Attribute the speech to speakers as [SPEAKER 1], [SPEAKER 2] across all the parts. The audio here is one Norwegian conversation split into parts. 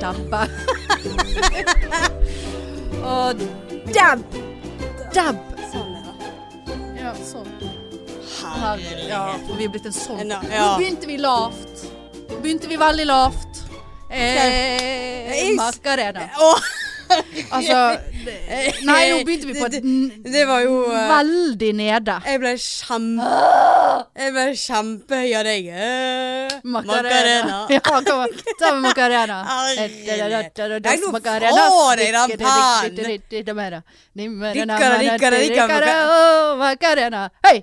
[SPEAKER 1] dampe. og damp! Damp!
[SPEAKER 2] Sånn, ja.
[SPEAKER 1] Ja, sånn. Herregud.
[SPEAKER 2] Herregud.
[SPEAKER 1] Ja, vi er blitt en sånn
[SPEAKER 2] Nå,
[SPEAKER 1] Nå
[SPEAKER 2] ja.
[SPEAKER 1] begynte vi lavt. Begynte vi veldig lavt. Eh,
[SPEAKER 2] Is.
[SPEAKER 1] Macarena.
[SPEAKER 2] Åh,
[SPEAKER 1] Altså det- Nei, nå begynte vi på
[SPEAKER 2] Det-
[SPEAKER 1] et
[SPEAKER 2] det var jo eh,
[SPEAKER 1] veldig nede.
[SPEAKER 2] Jeg ble kjempe...
[SPEAKER 1] Ah!
[SPEAKER 2] Jeg ble kjempehøy av deg. Eh, Macarena.
[SPEAKER 1] Ja, kom an. Ta med macarena.
[SPEAKER 2] Herregud. Nei, nå får jeg den
[SPEAKER 1] pannen!
[SPEAKER 2] Dikkara, dikkara, dikkara,
[SPEAKER 1] Macarena. Hei!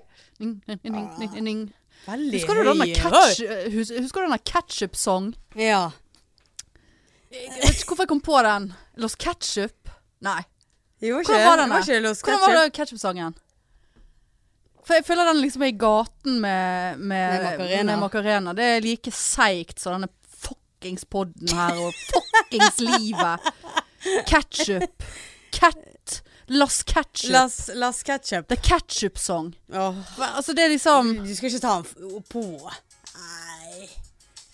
[SPEAKER 1] Ning, ning,
[SPEAKER 2] Ah,
[SPEAKER 1] ning, ning, ning.
[SPEAKER 2] Veldig
[SPEAKER 1] Husker du denne
[SPEAKER 2] høy.
[SPEAKER 1] catch, hus- husker du denne ketchup-song?
[SPEAKER 2] Ja.
[SPEAKER 1] Jeg vet ikke hvorfor jeg kom på den. Los Ketchup? Nei.
[SPEAKER 2] Jo, ikke,
[SPEAKER 1] Hvordan var den?
[SPEAKER 2] det var
[SPEAKER 1] da?
[SPEAKER 2] ikke Los
[SPEAKER 1] Hvordan var
[SPEAKER 2] Ketchup.
[SPEAKER 1] det ketchup-sangen? For jeg føler den liksom er i gaten med, med,
[SPEAKER 2] Med Macarena.
[SPEAKER 1] med Macarena. Det er like seigt som denne fuckings podden her og fuckings livet. Ketchup. Cat. Las ketchup.
[SPEAKER 2] Las, las Ketchup.
[SPEAKER 1] The ketchup song.
[SPEAKER 2] Åh,
[SPEAKER 1] Altså det er liksom
[SPEAKER 2] Du skal ikke ta den f- på. Nei.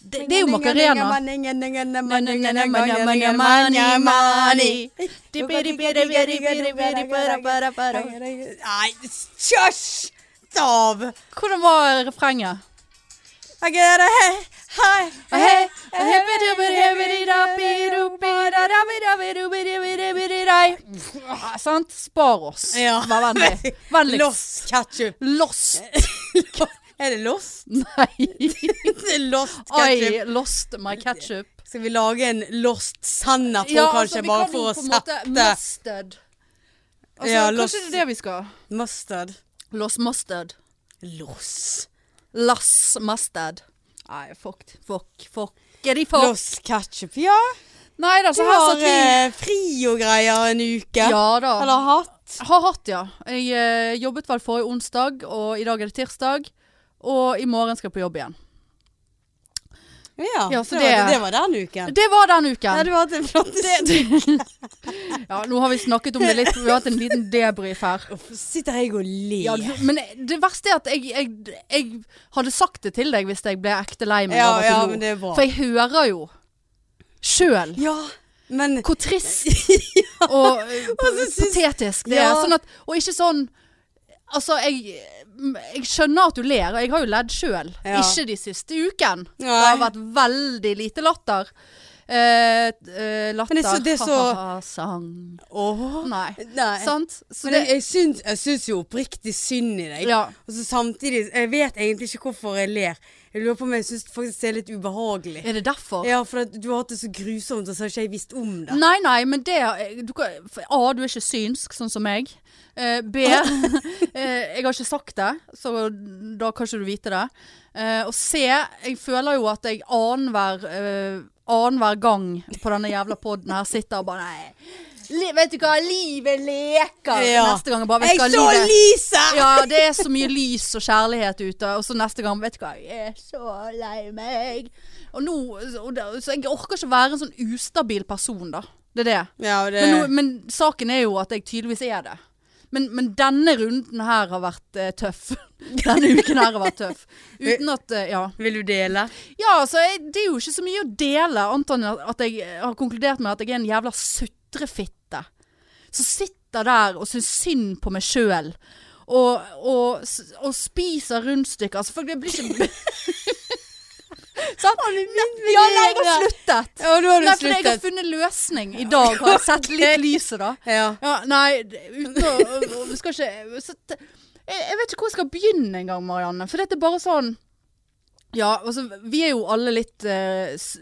[SPEAKER 1] Det, det er jo Macarena. Hvordan
[SPEAKER 2] Nei, kjøsj! Stav!
[SPEAKER 1] var refrenget?
[SPEAKER 2] I get a hey, hi,
[SPEAKER 1] Hei, hei, Sant? Spar oss.
[SPEAKER 2] Ja.
[SPEAKER 1] Vær vennlig. Vennligst.
[SPEAKER 2] Lost ketchup.
[SPEAKER 1] Lost.
[SPEAKER 2] Er det lost?
[SPEAKER 1] Nei.
[SPEAKER 2] Det er lost ketchup.
[SPEAKER 1] I lost my ketchup.
[SPEAKER 2] Skal vi lage en lost sennep på, kanskje,
[SPEAKER 1] altså, vi
[SPEAKER 2] bare
[SPEAKER 1] kan
[SPEAKER 2] for å
[SPEAKER 1] på en måte
[SPEAKER 2] sette
[SPEAKER 1] Mustard. Altså,
[SPEAKER 2] Ja, lost-
[SPEAKER 1] kanskje det er det vi skal.
[SPEAKER 2] mustard?
[SPEAKER 1] Lost mustard.
[SPEAKER 2] Loss.
[SPEAKER 1] Lass mustard. Nei, fuck. Fuck. Fuck. Er de fuck?
[SPEAKER 2] Lost ketchup, ja.
[SPEAKER 1] Nei da,
[SPEAKER 2] Du
[SPEAKER 1] så her
[SPEAKER 2] har
[SPEAKER 1] satt vi.
[SPEAKER 2] eh, fri og greier en uke.
[SPEAKER 1] Ja da.
[SPEAKER 2] Eller hatt.
[SPEAKER 1] Har hatt, ja. Jeg eh, jobbet vel forrige onsdag, og i dag er det tirsdag. Og i morgen skal jeg på jobb igjen.
[SPEAKER 2] Ja,
[SPEAKER 1] Ja, så
[SPEAKER 2] det,
[SPEAKER 1] det-
[SPEAKER 2] var, det var den uken.
[SPEAKER 1] Det var den
[SPEAKER 2] Ja,
[SPEAKER 1] uken.
[SPEAKER 2] du har hatt en flott
[SPEAKER 1] Ja, nå har vi snakket om det litt, for vi har hatt en liten debrief her.
[SPEAKER 2] Hvorfor sitter jeg og ler?
[SPEAKER 1] Ja, du- men det verste er at jeg, jeg, jeg hadde sagt det til deg hvis jeg ble ekte lei meg
[SPEAKER 2] Ja,
[SPEAKER 1] av at
[SPEAKER 2] ja,
[SPEAKER 1] du
[SPEAKER 2] men
[SPEAKER 1] lo.
[SPEAKER 2] det er bra.
[SPEAKER 1] For jeg hører jo sjøl
[SPEAKER 2] Ja, men
[SPEAKER 1] hvor trist og eh, patetisk det er.
[SPEAKER 2] Ja.
[SPEAKER 1] Sånn at, og ikke sånn Altså, jeg, jeg skjønner at du ler, og jeg har jo ledd sjøl.
[SPEAKER 2] Ja.
[SPEAKER 1] Ikke de siste uken. Det
[SPEAKER 2] Nei.
[SPEAKER 1] har vært veldig lite latter. Eh, eh, latter,
[SPEAKER 2] Men det er så- det er så-
[SPEAKER 1] ha-ha-ha, sang
[SPEAKER 2] Åh. Sånn,
[SPEAKER 1] Nei.
[SPEAKER 2] Nei.
[SPEAKER 1] Sant? Så
[SPEAKER 2] Men
[SPEAKER 1] det,
[SPEAKER 2] jeg, jeg, syns, jeg syns jo oppriktig synd i deg.
[SPEAKER 1] ja.
[SPEAKER 2] Og så samtidig Jeg vet egentlig ikke hvorfor jeg ler. Jeg lurer på om jeg syns faktisk det er litt ubehagelig.
[SPEAKER 1] Er det derfor?
[SPEAKER 2] Ja, for at du har hatt det så grusomt, og så har ikke jeg visst om det.
[SPEAKER 1] Nei, nei, men det eh, du, kan- for A, du er ikke synsk, sånn som meg. Eh, B, eh, jeg har ikke sagt det, så da kan ikke du vite det. Eh, og C, jeg føler jo at jeg annenhver eh, annenhver gang på denne jævla poden her sitter og bare nei, li, Vet du hva, livet leker!
[SPEAKER 2] Ja.
[SPEAKER 1] Neste gang jeg bare vet
[SPEAKER 2] Jeg
[SPEAKER 1] du hva,
[SPEAKER 2] så
[SPEAKER 1] livet-
[SPEAKER 2] lyset!
[SPEAKER 1] Ja, det er så mye lys og kjærlighet ute, og så neste gang Vet du hva, jeg er så lei meg. Og nå, og da, så jeg orker ikke være en sånn ustabil person, da. Det er det.
[SPEAKER 2] Ja, og det
[SPEAKER 1] Men, nå, men saken er jo at jeg tydeligvis er det. Men, men denne runden her har vært eh, tøff. Denne uken her har vært tøff. Uten at eh, Ja.
[SPEAKER 2] Vil du dele?
[SPEAKER 1] Ja, altså, jeg, det er jo ikke så mye å dele, annet enn at at jeg har konkludert med at jeg er en jævla sutrefitte. Som sitter der og syns synd på meg sjøl. Og, og, s- og spiser rundstykker. Altså, for det blir ikke Sant? Ja, nei, jeg har sluttet.
[SPEAKER 2] Ja, nå har du
[SPEAKER 1] Nei, for jeg har
[SPEAKER 2] sluttet.
[SPEAKER 1] funnet løsning i dag. Har jeg sett litt lyset, da.
[SPEAKER 2] Ja.
[SPEAKER 1] Ja, nei, det- uten å å- Vi skal ikke så, t- jeg, jeg vet ikke hvor jeg skal begynne engang, Marianne. For dette er bare sånn Ja, altså, vi er jo alle litt eh, s-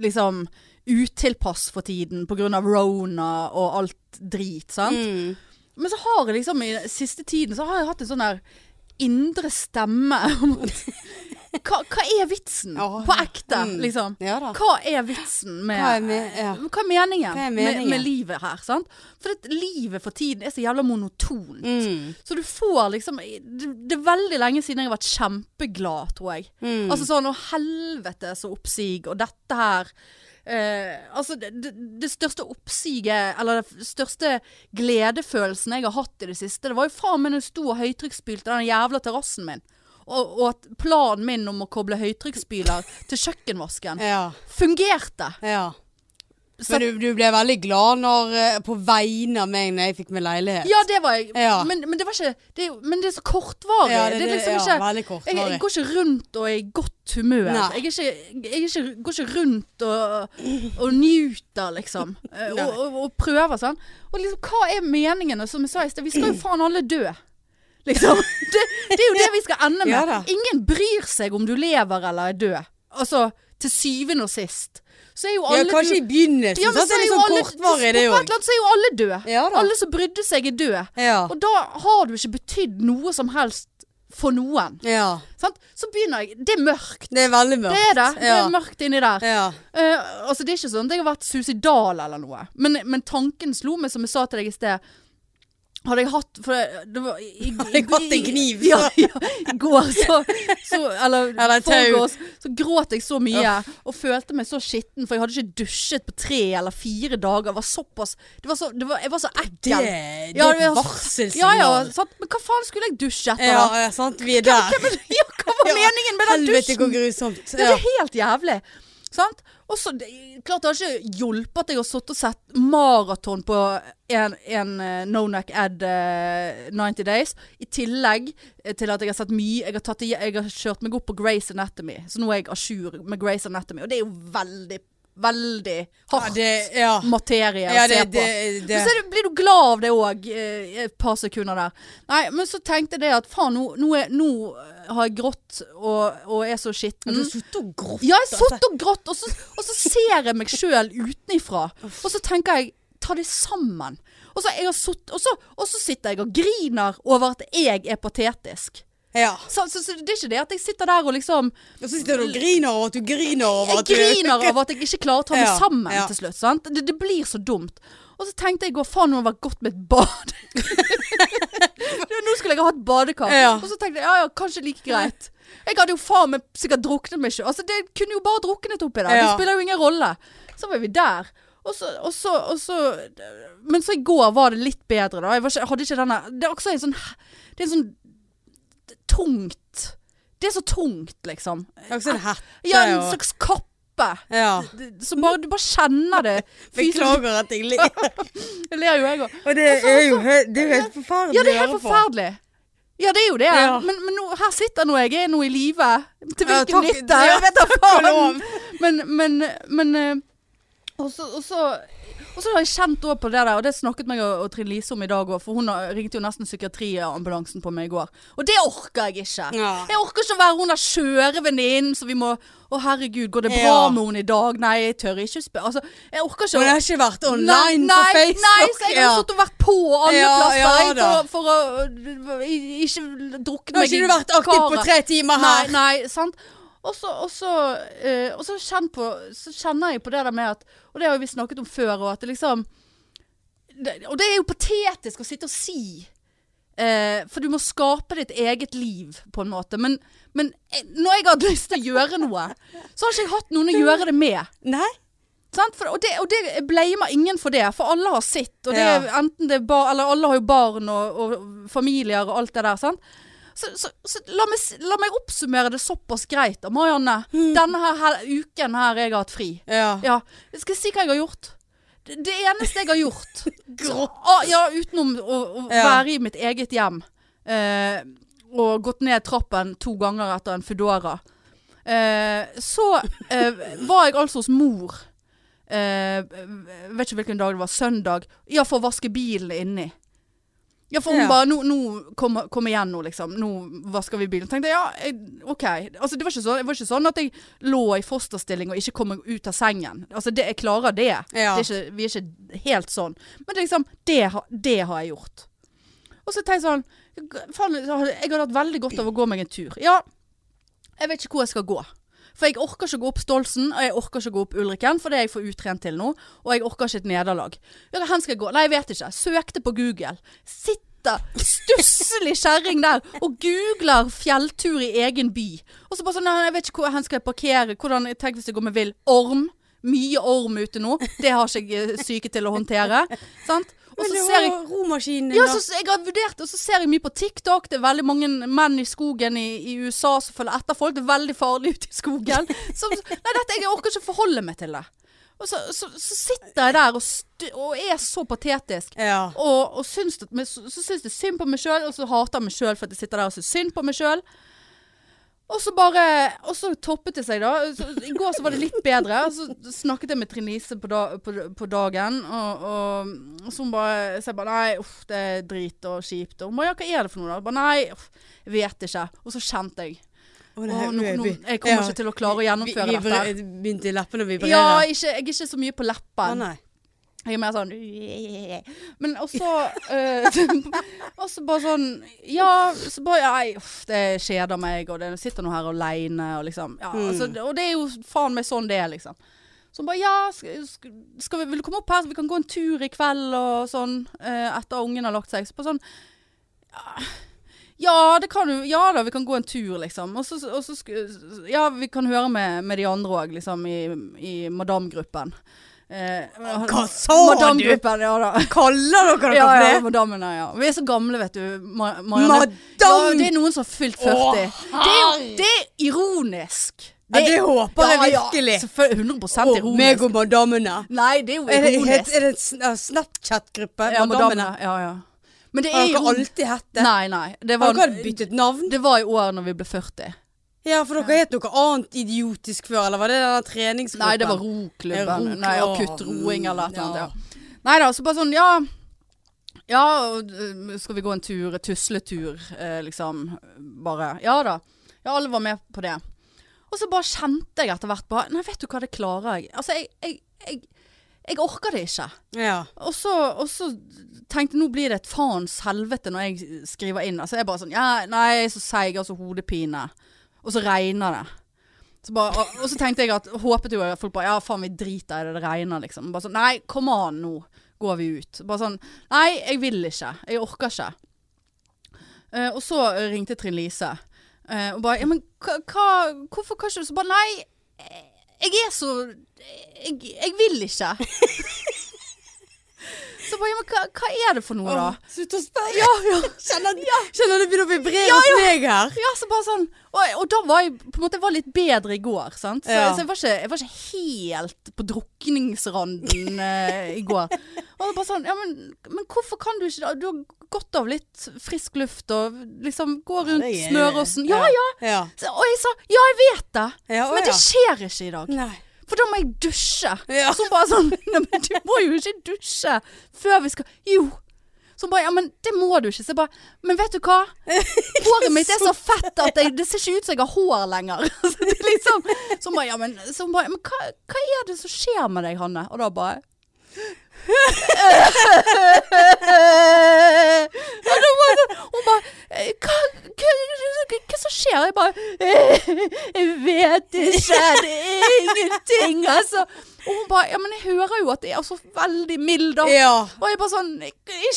[SPEAKER 1] liksom utilpass for tiden pga. rona og alt drit, sant?
[SPEAKER 2] Mm.
[SPEAKER 1] Men så har jeg liksom i siste tiden så har jeg hatt en sånn der indre stemme om at hva, hva er vitsen?
[SPEAKER 2] Ja.
[SPEAKER 1] På ekte,
[SPEAKER 2] Mm.
[SPEAKER 1] liksom.
[SPEAKER 2] Ja da.
[SPEAKER 1] Hva er vitsen med
[SPEAKER 2] Hva er med ja.
[SPEAKER 1] hva er meningen,
[SPEAKER 2] Hva er
[SPEAKER 1] Med,
[SPEAKER 2] meningen?
[SPEAKER 1] med livet her? Sant? For at livet for tiden er så jævla monotont.
[SPEAKER 2] mm.
[SPEAKER 1] Så du får liksom det, det er veldig lenge siden jeg har vært kjempeglad, tror jeg.
[SPEAKER 2] Mm.
[SPEAKER 1] Altså sånn 'Å, helvete, så oppsig', og dette her eh, Altså, det, det, det største oppsiget, eller den største gledefølelsen jeg har hatt i det siste, det var jo faen meg når jeg sto og høytrykksspylte den jævla terrassen min. Og, og at planen min om å koble høytrykksspyler til kjøkkenvasken
[SPEAKER 2] Ja.
[SPEAKER 1] fungerte.
[SPEAKER 2] Ja.
[SPEAKER 1] så-
[SPEAKER 2] Men du, du ble veldig glad når, eh, på vegne av meg når jeg fikk meg leilighet.
[SPEAKER 1] Ja, det var jeg.
[SPEAKER 2] Ja.
[SPEAKER 1] Men, men det var ikke det, er jo- Men det er så kortvarig. det, er liksom ikke
[SPEAKER 2] ja, veldig
[SPEAKER 1] jeg,
[SPEAKER 2] kortvarig.
[SPEAKER 1] jeg går ikke rundt og er i godt humør.
[SPEAKER 2] Nei.
[SPEAKER 1] Jeg, er ikke, jeg er ikke, går ikke rundt og, og nyter, liksom. Eh,
[SPEAKER 2] Nei.
[SPEAKER 1] Og, og, og prøver sånn. Og liksom, hva er meningen? Og som jeg sa i sted, vi skal jo faen alle dø. Liksom. Det, det er jo det vi skal ende med.
[SPEAKER 2] Ja da.
[SPEAKER 1] Ingen bryr seg om du lever eller er død. Altså, til syvende og sist. Så er jo
[SPEAKER 2] ja,
[SPEAKER 1] alle
[SPEAKER 2] kanskje i begynnelsen.
[SPEAKER 1] Ja, men
[SPEAKER 2] sant?
[SPEAKER 1] så
[SPEAKER 2] det er
[SPEAKER 1] er
[SPEAKER 2] litt
[SPEAKER 1] jo
[SPEAKER 2] sånn
[SPEAKER 1] alle på
[SPEAKER 2] kortvarig, det
[SPEAKER 1] et
[SPEAKER 2] òg.
[SPEAKER 1] eller annet så er jo alle døde.
[SPEAKER 2] Ja da.
[SPEAKER 1] Alle som brydde seg, er døde.
[SPEAKER 2] Ja.
[SPEAKER 1] Og da har du ikke betydd noe som helst for noen.
[SPEAKER 2] ja.
[SPEAKER 1] Sant? Så begynner jeg Det er mørkt.
[SPEAKER 2] Det er veldig
[SPEAKER 1] Det
[SPEAKER 2] mørkt.
[SPEAKER 1] er det. Det
[SPEAKER 2] Ja.
[SPEAKER 1] er mørkt inni der.
[SPEAKER 2] Ja.
[SPEAKER 1] Eh, altså, det er ikke sånn at jeg har vært suicidal eller noe. Men, men tanken slo meg, som jeg sa til deg i sted. Hadde jeg hatt For det, det var i, i,
[SPEAKER 2] Hadde jeg hatt en kniv,
[SPEAKER 1] Ja, ja. I går, så, så Eller,
[SPEAKER 2] Eller et tau.
[SPEAKER 1] forgårs, så gråt jeg så mye og følte meg så skitten, for jeg hadde ikke dusjet på tre eller fire dager. Jeg var såpass Det var så, det var, jeg var så
[SPEAKER 2] Det,
[SPEAKER 1] ekkel.
[SPEAKER 2] det
[SPEAKER 1] Ja, det
[SPEAKER 2] er et
[SPEAKER 1] var- Ja,
[SPEAKER 2] varselsignal.
[SPEAKER 1] ja, sant? Men hva faen skulle jeg dusje etter?
[SPEAKER 2] ja,
[SPEAKER 1] da?
[SPEAKER 2] ja, sant. Vi er der.
[SPEAKER 1] Ja, hva var
[SPEAKER 2] Ja,
[SPEAKER 1] meningen med den
[SPEAKER 2] Helvete,
[SPEAKER 1] dusjen?
[SPEAKER 2] hvor grusomt.
[SPEAKER 1] Ja,
[SPEAKER 2] Ja.
[SPEAKER 1] det er helt jævlig. Sant? Og så, det- klart det har ikke hjulpet at jeg har sittet og sett maraton på en, en eh, Nonac Ad eh, 90 Days. I tillegg eh, til at jeg har sett mye Jeg har, tatt, i- jeg har kjørt meg opp på Grace Anatomy. Så nå er jeg à jour med Grace Anatomy. Og det er jo veldig, veldig
[SPEAKER 2] Ja,
[SPEAKER 1] hardt
[SPEAKER 2] det, ja.
[SPEAKER 1] materie
[SPEAKER 2] ja,
[SPEAKER 1] å
[SPEAKER 2] det,
[SPEAKER 1] se på.
[SPEAKER 2] det, det.
[SPEAKER 1] Men så er du- blir du glad av det òg, eh, et par sekunder der. Nei, men så tenkte jeg det at faen, nå, nå, er, nå eh, har jeg grått og, og er så
[SPEAKER 2] Ja, Du Altså.
[SPEAKER 1] skitten.
[SPEAKER 2] har sittet og grått.
[SPEAKER 1] Ja, jeg satt og grått, og så, og så ser jeg meg sjøl utenifra. Og så tenker jeg ta det sammen. Og så, jeg har sutt, og, så, og så sitter jeg og griner over at jeg er patetisk.
[SPEAKER 2] Ja.
[SPEAKER 1] Så, så, så det er ikke det at jeg sitter der og liksom
[SPEAKER 2] Og så sitter du og griner over at du griner over
[SPEAKER 1] Jeg
[SPEAKER 2] at du
[SPEAKER 1] griner av at jeg ikke klarer å ta meg
[SPEAKER 2] Ja,
[SPEAKER 1] sammen
[SPEAKER 2] ja.
[SPEAKER 1] til slutt. Sant? Det, det blir så dumt. Og så tenkte jeg gå faen, nå har det vært godt med et bad. nå skulle jeg ha hatt badekar.
[SPEAKER 2] Ja.
[SPEAKER 1] Og så tenkte jeg ja ja, kanskje like greit. Jeg hadde jo faen meg sikkert druknet meg sjøl. Altså, det kunne jo bare druknet oppi der.
[SPEAKER 2] Ja.
[SPEAKER 1] Det spiller jo ingen rolle. Så var vi der. Og så, og så, og så Men så i går var det litt bedre, da. Jeg, var ikke, jeg hadde ikke denne Det er også en sånn Det er en sånn tungt Det er så tungt, liksom.
[SPEAKER 2] Jeg har ikke sett en hette.
[SPEAKER 1] Ja, en
[SPEAKER 2] og-
[SPEAKER 1] slags kappe.
[SPEAKER 2] ja.
[SPEAKER 1] Det- Så bare, du bare kjenner det. Fysisk
[SPEAKER 2] Beklager at jeg ler.
[SPEAKER 1] Det ler jo jeg òg.
[SPEAKER 2] Og det er jo hø- det er jo helt forferdelig
[SPEAKER 1] Ja, det er helt forferdelig. Ja, det er jo det.
[SPEAKER 2] Ja.
[SPEAKER 1] Men, men nå, her sitter nå jeg. Jeg er nå i live. Til
[SPEAKER 2] Ja,
[SPEAKER 1] hvilken
[SPEAKER 2] takk-
[SPEAKER 1] nytte?
[SPEAKER 2] ja,
[SPEAKER 1] Jeg vet da
[SPEAKER 2] og lov.
[SPEAKER 1] faen. Men, men, men eh, og så, og, så, og så har jeg kjent også på det der, og det snakket meg og, og Trine Lise om i dag òg, for hun har- ringte jo nesten psykiatriambulansen på meg i går. Og det orker jeg ikke.
[SPEAKER 2] Ja.
[SPEAKER 1] Jeg orker ikke å være hun der skjøre venninnen som vi må Å, herregud, går det bra
[SPEAKER 2] Ja.
[SPEAKER 1] med henne i dag? Nei, jeg tør ikke spørre. Altså, jeg orker ikke
[SPEAKER 2] Men
[SPEAKER 1] å
[SPEAKER 2] jeg har ikke vært online på Facebook.
[SPEAKER 1] Nei, så jeg har
[SPEAKER 2] ja.
[SPEAKER 1] stått og vært på alle
[SPEAKER 2] Ja,
[SPEAKER 1] plasser
[SPEAKER 2] ja
[SPEAKER 1] jeg,
[SPEAKER 2] da.
[SPEAKER 1] for, for å øh, i- ikke drukne
[SPEAKER 2] Nå har
[SPEAKER 1] meg i
[SPEAKER 2] ikke du vært aktiv på
[SPEAKER 1] karet.
[SPEAKER 2] tre timer
[SPEAKER 1] Nei,
[SPEAKER 2] her.
[SPEAKER 1] nei, sant. Og så, og så, eh, og så, kjenn på, så kjenner jeg på det der med at Og det har jo vi snakket om før, og at det liksom det, Og det er jo patetisk å sitte og si. eh, for du må skape ditt eget liv, på en måte. Men, men eh, når jeg har hatt lyst til å gjøre noe, så har ikke jeg hatt noen å gjøre det med.
[SPEAKER 2] Nei.
[SPEAKER 1] Sant? For, og, det, og det jeg blamer ingen for det, for alle har sitt. Og det,
[SPEAKER 2] Ja.
[SPEAKER 1] er enten det er bar, eller alle har jo barn og, og familier og alt det der. Sant? Så, så, så la, meg, s- la meg oppsummere det såpass greit. da. Marianne,
[SPEAKER 2] Hmm.
[SPEAKER 1] denne her, hel- uken her jeg har hatt fri.
[SPEAKER 2] Ja.
[SPEAKER 1] Ja, jeg skal si hva jeg har gjort. Det, det eneste jeg har gjort
[SPEAKER 2] Grått.
[SPEAKER 1] Ah, Ja, utenom å, å
[SPEAKER 2] Ja.
[SPEAKER 1] være i mitt eget hjem. Eh, og gått ned trappen to ganger etter en Foodora. Eh, så eh, var jeg altså hos mor. Eh, vet ikke hvilken dag det var. Søndag. Ja, for å vaske bilen inni. Ja, for hun
[SPEAKER 2] Ja.
[SPEAKER 1] bare nå, nå, kom, kom igjen nå, liksom. Nå vasker vi bilen. Tenkte jeg, ja, jeg, OK. Altså, det var, ikke sånn, det var ikke sånn at jeg lå i fosterstilling og ikke kom meg ut av sengen. Altså, det, jeg klarer det.
[SPEAKER 2] Ja.
[SPEAKER 1] det er ikke, vi er ikke helt sånn. Men det, er liksom, det, har- det har jeg gjort. Og så tenkte jeg sånn Faen, jeg hadde hatt veldig godt av å gå meg en tur. Ja, jeg vet ikke hvor jeg skal gå. For jeg orker ikke å gå opp Stolsen, og jeg orker ikke å gå opp Ulriken, for det er jeg for utrent til nå. Og jeg orker ikke et nederlag. Ja, Hvor skal jeg gå? Nei, jeg vet ikke. Søkte på Google. Sitter stusslig kjerring der og googler fjelltur i egen by. Og så bare sånn, nei, jeg vet ikke hvor hen skal jeg parkere, hvordan Tenk hvis jeg går med vill orm. Mye orm ute nå. Det har ikke jeg eh, syke til å håndtere. Sant? Og så ser jeg
[SPEAKER 2] romaskinen
[SPEAKER 1] ja, så, så jeg har vurdert det, og så ser jeg mye på TikTok. Det er veldig mange menn i skogen i, i USA som følger etter folk. Det er veldig farlig ute i skogen. Så, nei, dette, jeg orker ikke forholde meg til det. Og så, så, så sitter jeg der og, st og er så patetisk.
[SPEAKER 2] Ja.
[SPEAKER 1] Og, og syns det, men så, så syns det synd på meg sjøl, og så hater jeg meg sjøl for at jeg sitter der og syns synd på meg sjøl. Og så bare Og så toppet det seg, da. Så, I går så var det litt bedre. Så snakket jeg med Trine Lise på, da, på, på dagen, og, og, og så hun bare Så jeg bare Nei, uff, det er drit og kjipt. Og hun bare Ja, hva er det for noe, da? Jeg bare nei, uff, jeg vet ikke. Og så kjente jeg.
[SPEAKER 2] Å, det
[SPEAKER 1] Å,
[SPEAKER 2] her-
[SPEAKER 1] nå, nå, jeg kommer ikke til å klare å
[SPEAKER 2] Vi-
[SPEAKER 1] gjennomføre
[SPEAKER 2] vi
[SPEAKER 1] dette.
[SPEAKER 2] vri- Begynte leppene å vibrere.
[SPEAKER 1] Ja, ikke, jeg er ikke så mye på
[SPEAKER 2] Å,
[SPEAKER 1] leppen.
[SPEAKER 2] nei.
[SPEAKER 1] Jeg er mer sånn Men også uh, Også bare sånn Ja, så bare ja, nei, uff, det kjeder meg, og det jeg sitter nå her aleine, og liksom ja, altså, det- Og det er jo faen meg sånn det er, liksom. Så hun bare Ja, sk- sk- skal vi, vil du komme opp her, så vi kan gå en tur i kveld, og sånn, eh, etter at ungen har lagt seg. Så bare sånn ja, det kan du. Ja da, vi kan gå en tur, liksom. Og så, og så sku- Ja, vi kan høre med, med de andre òg, liksom, i, i madamgruppen. Eh,
[SPEAKER 2] Hva sa du?
[SPEAKER 1] Madamgruppen, ja da.
[SPEAKER 2] Kaller dere dere
[SPEAKER 1] Ja, ja,
[SPEAKER 2] for det?
[SPEAKER 1] madammene, ja. Vi er så gamle, vet du. Ma Marianne.
[SPEAKER 2] Madam!
[SPEAKER 1] Ja, det er noen som har fylt 40.
[SPEAKER 2] Å,
[SPEAKER 1] det, er jo, det er ironisk.
[SPEAKER 2] Ja, det håper jeg virkelig.
[SPEAKER 1] Ja, selvfølgelig. 100
[SPEAKER 2] Å,
[SPEAKER 1] ironisk.
[SPEAKER 2] meg og madammene.
[SPEAKER 1] Nei, det er jo
[SPEAKER 2] Er det, het-
[SPEAKER 1] ironisk.
[SPEAKER 2] er det en sn- ja, Snapchat-gruppe?
[SPEAKER 1] Ja,
[SPEAKER 2] Madammene?
[SPEAKER 1] madammene. Ja, ja. Men det
[SPEAKER 2] Har
[SPEAKER 1] er
[SPEAKER 2] dere
[SPEAKER 1] ironisk.
[SPEAKER 2] alltid hett det?
[SPEAKER 1] Nei, nei. Det
[SPEAKER 2] Har
[SPEAKER 1] var,
[SPEAKER 2] dere byttet navn?
[SPEAKER 1] det var i år når vi ble 40.
[SPEAKER 2] Ja, for dere het noe annet idiotisk før, eller var det den der treningsgruppen?
[SPEAKER 1] Nei, det var
[SPEAKER 2] Ja,
[SPEAKER 1] roklubben.
[SPEAKER 2] rokla-
[SPEAKER 1] Nei, akutt roing eller et eller
[SPEAKER 2] Ja.
[SPEAKER 1] annet. Ja. Nei da, så bare sånn, ja. Ja, og, øh, skal vi gå en tur, tusletur, eh, liksom. Bare, ja da. Ja, alle var med på det. Og så bare kjente jeg etter hvert bare, nei, vet du hva, det klarer jeg. Altså, jeg, jeg, jeg, jeg orker det ikke.
[SPEAKER 2] Ja.
[SPEAKER 1] Og så, og så tenkte jeg nå blir det et faens helvete når jeg skriver inn. Altså jeg bare sånn ja, Nei, jeg er så seig, jeg har så hodepine. Og så regner det. Så bare, og, og så tenkte jeg at Håpet jo at folk bare Ja, faen, vi driter i det, det regner, liksom. Bare sånn Nei, kom an, nå går vi ut. Bare sånn Nei, jeg vil ikke. Jeg orker ikke. Eh, og så ringte Trine Lise. eh, og bare Ja, men hva, hva- hvorfor kan ikke du Så bare Nei, eh, jeg er så Jeg, jeg vil ikke. så bare Ja, men hva, hva er det for noe, da?
[SPEAKER 2] Åh, Slutt å spørre.
[SPEAKER 1] Ja, ja.
[SPEAKER 2] Kjenner, kjenner det begynner å vibrere hos meg her.
[SPEAKER 1] Ja, så bare sånn Og, og da var jeg på en måte jeg var litt bedre i går, sant? Så,
[SPEAKER 2] Ja.
[SPEAKER 1] så jeg, var ikke, jeg var ikke helt på drukningsranden eh, i går. Og det var bare sånn Ja, men, men hvorfor kan du ikke det? Du har godt av litt frisk luft og liksom gå rundt
[SPEAKER 2] det er-
[SPEAKER 1] smøråsen. Ja, ja!
[SPEAKER 2] Ja.
[SPEAKER 1] Så, og jeg sa ja, jeg vet det,
[SPEAKER 2] Ja, å
[SPEAKER 1] men det
[SPEAKER 2] ja.
[SPEAKER 1] skjer ikke i dag.
[SPEAKER 2] Nei.
[SPEAKER 1] For da må jeg dusje.
[SPEAKER 2] Ja.
[SPEAKER 1] Så hun bare sånn Nei, men du må jo ikke dusje før vi skal Jo. Så hun bare Ja, men det må du ikke. Så jeg bare Men vet du hva? Håret mitt er så fett at jeg, det ser ikke ut som jeg har hår lenger. Så det er liksom Så hun bare Ja, men, så hun bare, men hva, hva er det som skjer med deg, Hanne? Og da bare og da bare, sånn- hun bare «Eh, hva, hva, hva, hva som skjer? Jeg bare «Eh, Jeg vet ikke. Det er ingenting, altså. Og hun bare Ja, men jeg hører jo at det er så veldig mild, da.
[SPEAKER 2] Ja.
[SPEAKER 1] Og jeg bare sånn Ikke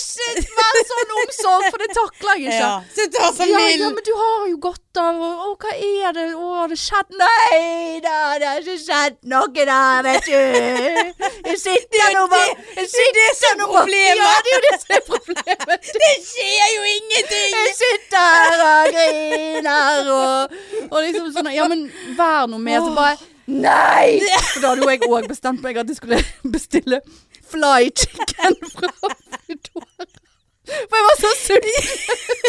[SPEAKER 1] vær sånn omsorg, for det takler jeg ikke.
[SPEAKER 2] ja. Slutt å være så
[SPEAKER 1] Ja,
[SPEAKER 2] mild.
[SPEAKER 1] ja, men du har jo godt av å, å, hva er det? Å, har det skjedd? Nei da, det har ikke skjedd noe der, vet du. Jeg sitter nå bare Jeg
[SPEAKER 2] det er det som er
[SPEAKER 1] sitter nå bare-
[SPEAKER 2] problemet.
[SPEAKER 1] Ja, det er jo det som er problemet.
[SPEAKER 2] Det skjer jo ingenting!
[SPEAKER 1] Jeg sitter her og griner og, og liksom sånn Ja, men vær nå med. Så bare Nei! For da hadde jo jeg òg bestemt meg at jeg skulle bestille fly chicken fra Foodora. For jeg var så sulten.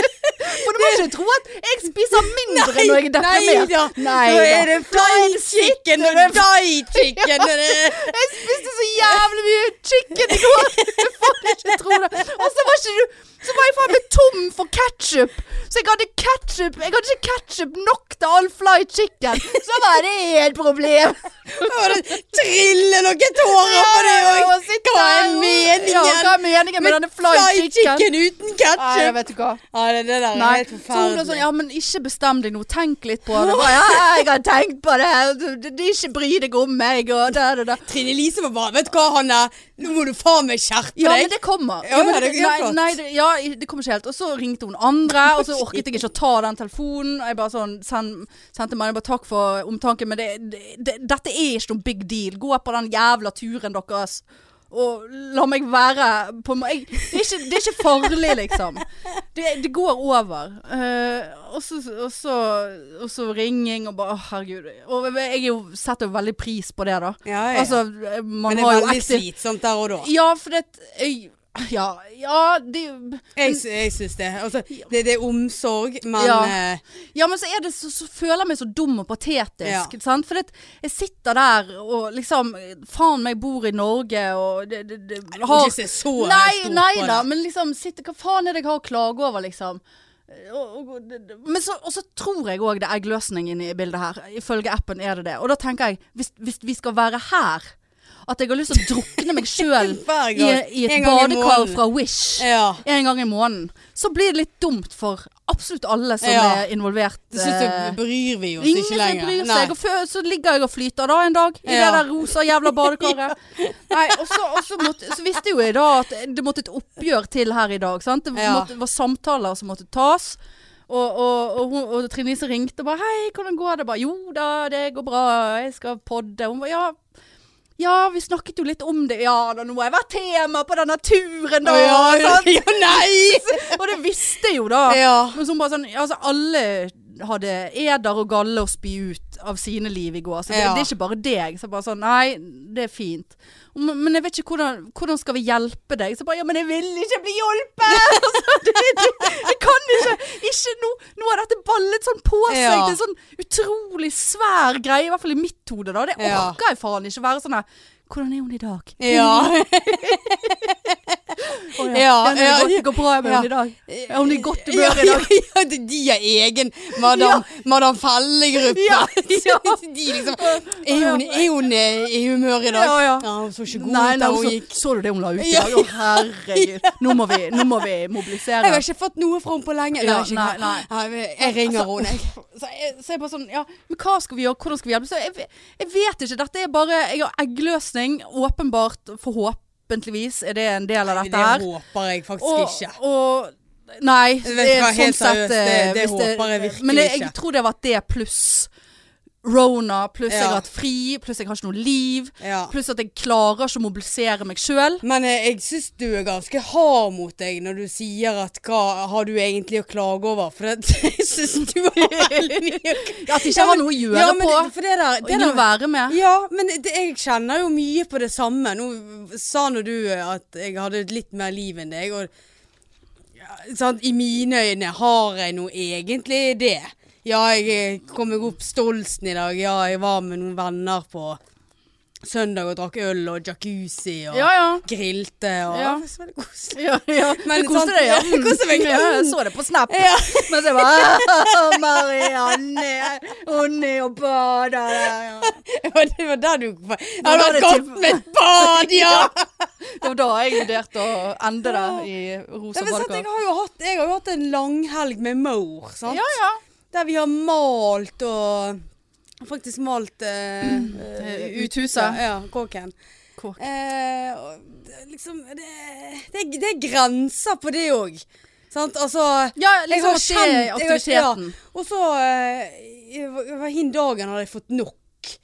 [SPEAKER 1] For du må ikke tro at jeg spiser mindre når jeg er deprimert.
[SPEAKER 2] da.
[SPEAKER 1] Nei
[SPEAKER 2] Nå
[SPEAKER 1] da.
[SPEAKER 2] er det fly chicken og
[SPEAKER 1] det-
[SPEAKER 2] die chicken og det
[SPEAKER 1] Jeg spiste så jævlig mye chicken i går. Jeg faen ikke tro det. Og så var ikke du Så var jeg faen meg tom for ketsjup. Så jeg hadde ketchup Jeg hadde ikke ketsjup nok til all fly chicken. Så var det et problem.
[SPEAKER 2] Og det triller noen tårer på det
[SPEAKER 1] Og
[SPEAKER 2] òg.
[SPEAKER 1] sitte
[SPEAKER 2] Hva er
[SPEAKER 1] her og-
[SPEAKER 2] meningen?
[SPEAKER 1] Ja, hva er meningen med denne fly chicken?
[SPEAKER 2] uten
[SPEAKER 1] Nei, jeg
[SPEAKER 2] ketsjup.
[SPEAKER 1] vet du hva.
[SPEAKER 2] Ja, det, det der er
[SPEAKER 1] Nei.
[SPEAKER 2] helt
[SPEAKER 1] Så hun da sånn,
[SPEAKER 2] forferdelig.
[SPEAKER 1] ja, men ikke bestem deg nå. Tenk litt på det. Bare, ja, jeg har tenkt på det. Du- du- du Ikke bry deg om meg og da, da, da.
[SPEAKER 2] Trine Lise var bare Vet du hva, Hanne? Nå må du faen meg skjerpe
[SPEAKER 1] Ja, men
[SPEAKER 2] deg.
[SPEAKER 1] det kommer.
[SPEAKER 2] Ja,
[SPEAKER 1] men
[SPEAKER 2] ja, det- ja,
[SPEAKER 1] nei,
[SPEAKER 2] flott.
[SPEAKER 1] nei, det, ja, i- det kommer ikke helt. Og så ringte hun andre, og så orket jeg ikke å ta den telefonen. Og Jeg bare sånn, send, sendte meg bare takk for omtanken, men det, det, det, dette er ikke noen big deal. Gå på den jævla turen deres. og la meg være på en må- jeg, det, er ikke, det er ikke farlig, liksom. Det, det går over. Eh, og, så, og, så, og så ringing og bare Å, herregud. Og jeg er jo, setter jo veldig pris på det, da.
[SPEAKER 2] Ja, ja.
[SPEAKER 1] Altså, man
[SPEAKER 2] Men det
[SPEAKER 1] har
[SPEAKER 2] er
[SPEAKER 1] jo
[SPEAKER 2] veldig
[SPEAKER 1] ekte
[SPEAKER 2] slitsomt der og da.
[SPEAKER 1] Ja, for det jeg, Ja, ja det
[SPEAKER 2] Jeg, sy- jeg syns det. Altså, det. Det er omsorg, men
[SPEAKER 1] Ja.
[SPEAKER 2] eh,
[SPEAKER 1] Ja, men så, er det, så, så føler jeg meg så dum og
[SPEAKER 2] Ja.
[SPEAKER 1] patetisk. Sant? For det, jeg sitter der og liksom Faen meg bor i Norge og det, det, det,
[SPEAKER 2] Du må ikke se så
[SPEAKER 1] Nei,
[SPEAKER 2] stort
[SPEAKER 1] nei
[SPEAKER 2] på
[SPEAKER 1] da,
[SPEAKER 2] det.
[SPEAKER 1] men liksom sitter, Hva faen er det jeg har å klage over, liksom? Og, og, det- det- men så, og så tror jeg òg det er eggløsning inne i bildet her. Ifølge appen er det det. Og da tenker jeg, hvis, hvis vi skal være her at jeg har lyst til å drukne meg sjøl
[SPEAKER 2] Hver
[SPEAKER 1] i,
[SPEAKER 2] gang.
[SPEAKER 1] i et
[SPEAKER 2] En gang i
[SPEAKER 1] badekar
[SPEAKER 2] måneden.
[SPEAKER 1] fra Wish
[SPEAKER 2] Ja.
[SPEAKER 1] en gang i måneden, så blir det litt dumt for absolutt alle som
[SPEAKER 2] Ja.
[SPEAKER 1] er involvert.
[SPEAKER 2] Til slutt
[SPEAKER 1] eh,
[SPEAKER 2] så bryr vi oss
[SPEAKER 1] Ingen
[SPEAKER 2] ikke
[SPEAKER 1] som
[SPEAKER 2] lenger.
[SPEAKER 1] bryr
[SPEAKER 2] Nei.
[SPEAKER 1] seg, og før, så ligger jeg og flyter da en dag i det
[SPEAKER 2] Ja.
[SPEAKER 1] der rosa jævla badekaret. Nei, og så, og så, måtte, så visste jo jeg da at det måtte et oppgjør til her i dag. Sant? Det
[SPEAKER 2] Ja.
[SPEAKER 1] måtte, var samtaler som måtte tas. Og, og, og, hun- og Trine Lise ringte og bare 'Hei, hvordan går det?' Bare 'Jo da, det går bra. Jeg skal podde.' Hun bare 'Ja, ja vi snakket jo litt om det.' 'Ja da, nå har jeg vært tema på denne turen, da.'
[SPEAKER 2] Å, ja, ja,
[SPEAKER 1] sant?
[SPEAKER 2] ja, nei!
[SPEAKER 1] Og det visste jeg jo da.
[SPEAKER 2] Ja.
[SPEAKER 1] Men så hun bare sånn, ja, altså alle hadde eder og galle å spy ut av sine liv i går. Så det,
[SPEAKER 2] Ja.
[SPEAKER 1] det er ikke bare deg. Så bare sånn, nei, det er fint. Og Men men jeg vet ikke hvordan, hvordan skal vi hjelpe deg? Så bare, ja, men jeg vil ikke bli hjulpet! Altså, det, det, jeg kan ikke, ikke nå, nå har dette ballet sånn på seg.
[SPEAKER 2] Ja.
[SPEAKER 1] Det er sånn utrolig svær greie, i hvert fall i mitt hode da. Det
[SPEAKER 2] Ja.
[SPEAKER 1] orker jeg faen ikke være sånn her. Hvordan er hun i dag?
[SPEAKER 2] Ja.
[SPEAKER 1] Å
[SPEAKER 2] Ja,
[SPEAKER 1] det,
[SPEAKER 2] ja,
[SPEAKER 1] går, det går bra med
[SPEAKER 2] ja.
[SPEAKER 1] henne i dag. Er hun i godt humør
[SPEAKER 2] Ja,
[SPEAKER 1] i dag?
[SPEAKER 2] ja, ja, de- de har egen Madam, Madam Felle-gruppe.
[SPEAKER 1] Ja, ja.
[SPEAKER 2] De liksom Er hun, er hun eh, i humør i dag?
[SPEAKER 1] Ja, ja.
[SPEAKER 2] hun så ikke god
[SPEAKER 1] Nei,
[SPEAKER 2] ut
[SPEAKER 1] nei,
[SPEAKER 2] da hun
[SPEAKER 1] så,
[SPEAKER 2] gikk.
[SPEAKER 1] så du det hun la ut i
[SPEAKER 2] Ja.
[SPEAKER 1] dag? Å, herregud. Nå må vi, nå må vi
[SPEAKER 2] Jeg
[SPEAKER 1] mobilisere.
[SPEAKER 2] har ikke fått noe fra henne på lenge.
[SPEAKER 1] Ja,
[SPEAKER 2] jeg har ikke-
[SPEAKER 1] nei,
[SPEAKER 2] Jeg, jeg ringer
[SPEAKER 1] Altså,
[SPEAKER 2] henne, jeg.
[SPEAKER 1] Så jeg, så jeg bare sånn, ja, men hva skal vi gjøre? Hvordan skal vi hjelpe? Så jeg, jeg vet ikke. Dette er bare Jeg har eggløsning. Åpenbart, forhåpentligvis, er det en del av
[SPEAKER 2] Det
[SPEAKER 1] dette her.
[SPEAKER 2] håper jeg faktisk ikke.
[SPEAKER 1] Og, og Nei, sånn
[SPEAKER 2] vet ikke hva, helt seriøst, det- det
[SPEAKER 1] eh, hvis
[SPEAKER 2] håper jeg virkelig
[SPEAKER 1] Men jeg, jeg
[SPEAKER 2] ikke.
[SPEAKER 1] tror det har vært det pluss Rona, pluss jeg
[SPEAKER 2] Ja.
[SPEAKER 1] har hatt fri, pluss jeg har ikke noe liv.
[SPEAKER 2] Ja.
[SPEAKER 1] Pluss at jeg klarer ikke å mobilisere meg sjøl.
[SPEAKER 2] Men eh, jeg syns du er ganske hard mot deg når du sier at hva har du egentlig å klage over? For det, jeg syns du har veldig mye å klage
[SPEAKER 1] At jeg ikke har noe å gjøre
[SPEAKER 2] ja, men
[SPEAKER 1] på.
[SPEAKER 2] det- For det der,
[SPEAKER 1] Og
[SPEAKER 2] det
[SPEAKER 1] ingen å
[SPEAKER 2] der
[SPEAKER 1] være med.
[SPEAKER 2] Ja, men det, jeg kjenner jo mye på det samme. Nå sa nå du at jeg hadde litt mer liv enn deg, og ja, sant, i mine øyne har jeg nå egentlig det. Ja, jeg eh, kom meg opp Stolsen i dag. Ja, jeg var med noen venner på søndag og drakk øl og jacuzzi og
[SPEAKER 1] Ja, ja.
[SPEAKER 2] grilte og
[SPEAKER 1] Ja.
[SPEAKER 2] Det var så veldig koselig.
[SPEAKER 1] Ja, ja.
[SPEAKER 2] Men
[SPEAKER 1] du koste
[SPEAKER 2] sant,
[SPEAKER 1] deg, ja.
[SPEAKER 2] jeg koste meg.
[SPEAKER 1] Ja, jeg så det på Snap.
[SPEAKER 2] Ja.
[SPEAKER 1] Mens jeg bare «Åh, Marianne, hun er og bader der. ja.
[SPEAKER 2] Og det var der du Jeg
[SPEAKER 1] var
[SPEAKER 2] hadde
[SPEAKER 1] det
[SPEAKER 2] gått
[SPEAKER 1] til-
[SPEAKER 2] med et bad, ja!
[SPEAKER 1] Det var da jeg vurderte å ende det i rosa
[SPEAKER 2] Nei, men sant, jeg,
[SPEAKER 1] badekar.
[SPEAKER 2] har jo hatt, jeg har jo hatt en langhelg med Moore, sant?
[SPEAKER 1] Ja, ja.
[SPEAKER 2] Der vi har malt og Faktisk malt eh, eh,
[SPEAKER 1] Uthuset.
[SPEAKER 2] Ja, ja, kåken.
[SPEAKER 1] Kåk.
[SPEAKER 2] Eh, og det- liksom det, det, er- det er grenser på det òg. Sant? Altså
[SPEAKER 1] Ja, liksom at det er
[SPEAKER 2] jeg har-
[SPEAKER 1] aktiviteten.
[SPEAKER 2] ja, og så eh, jeg var- jeg var Hin dagen hadde jeg fått nok.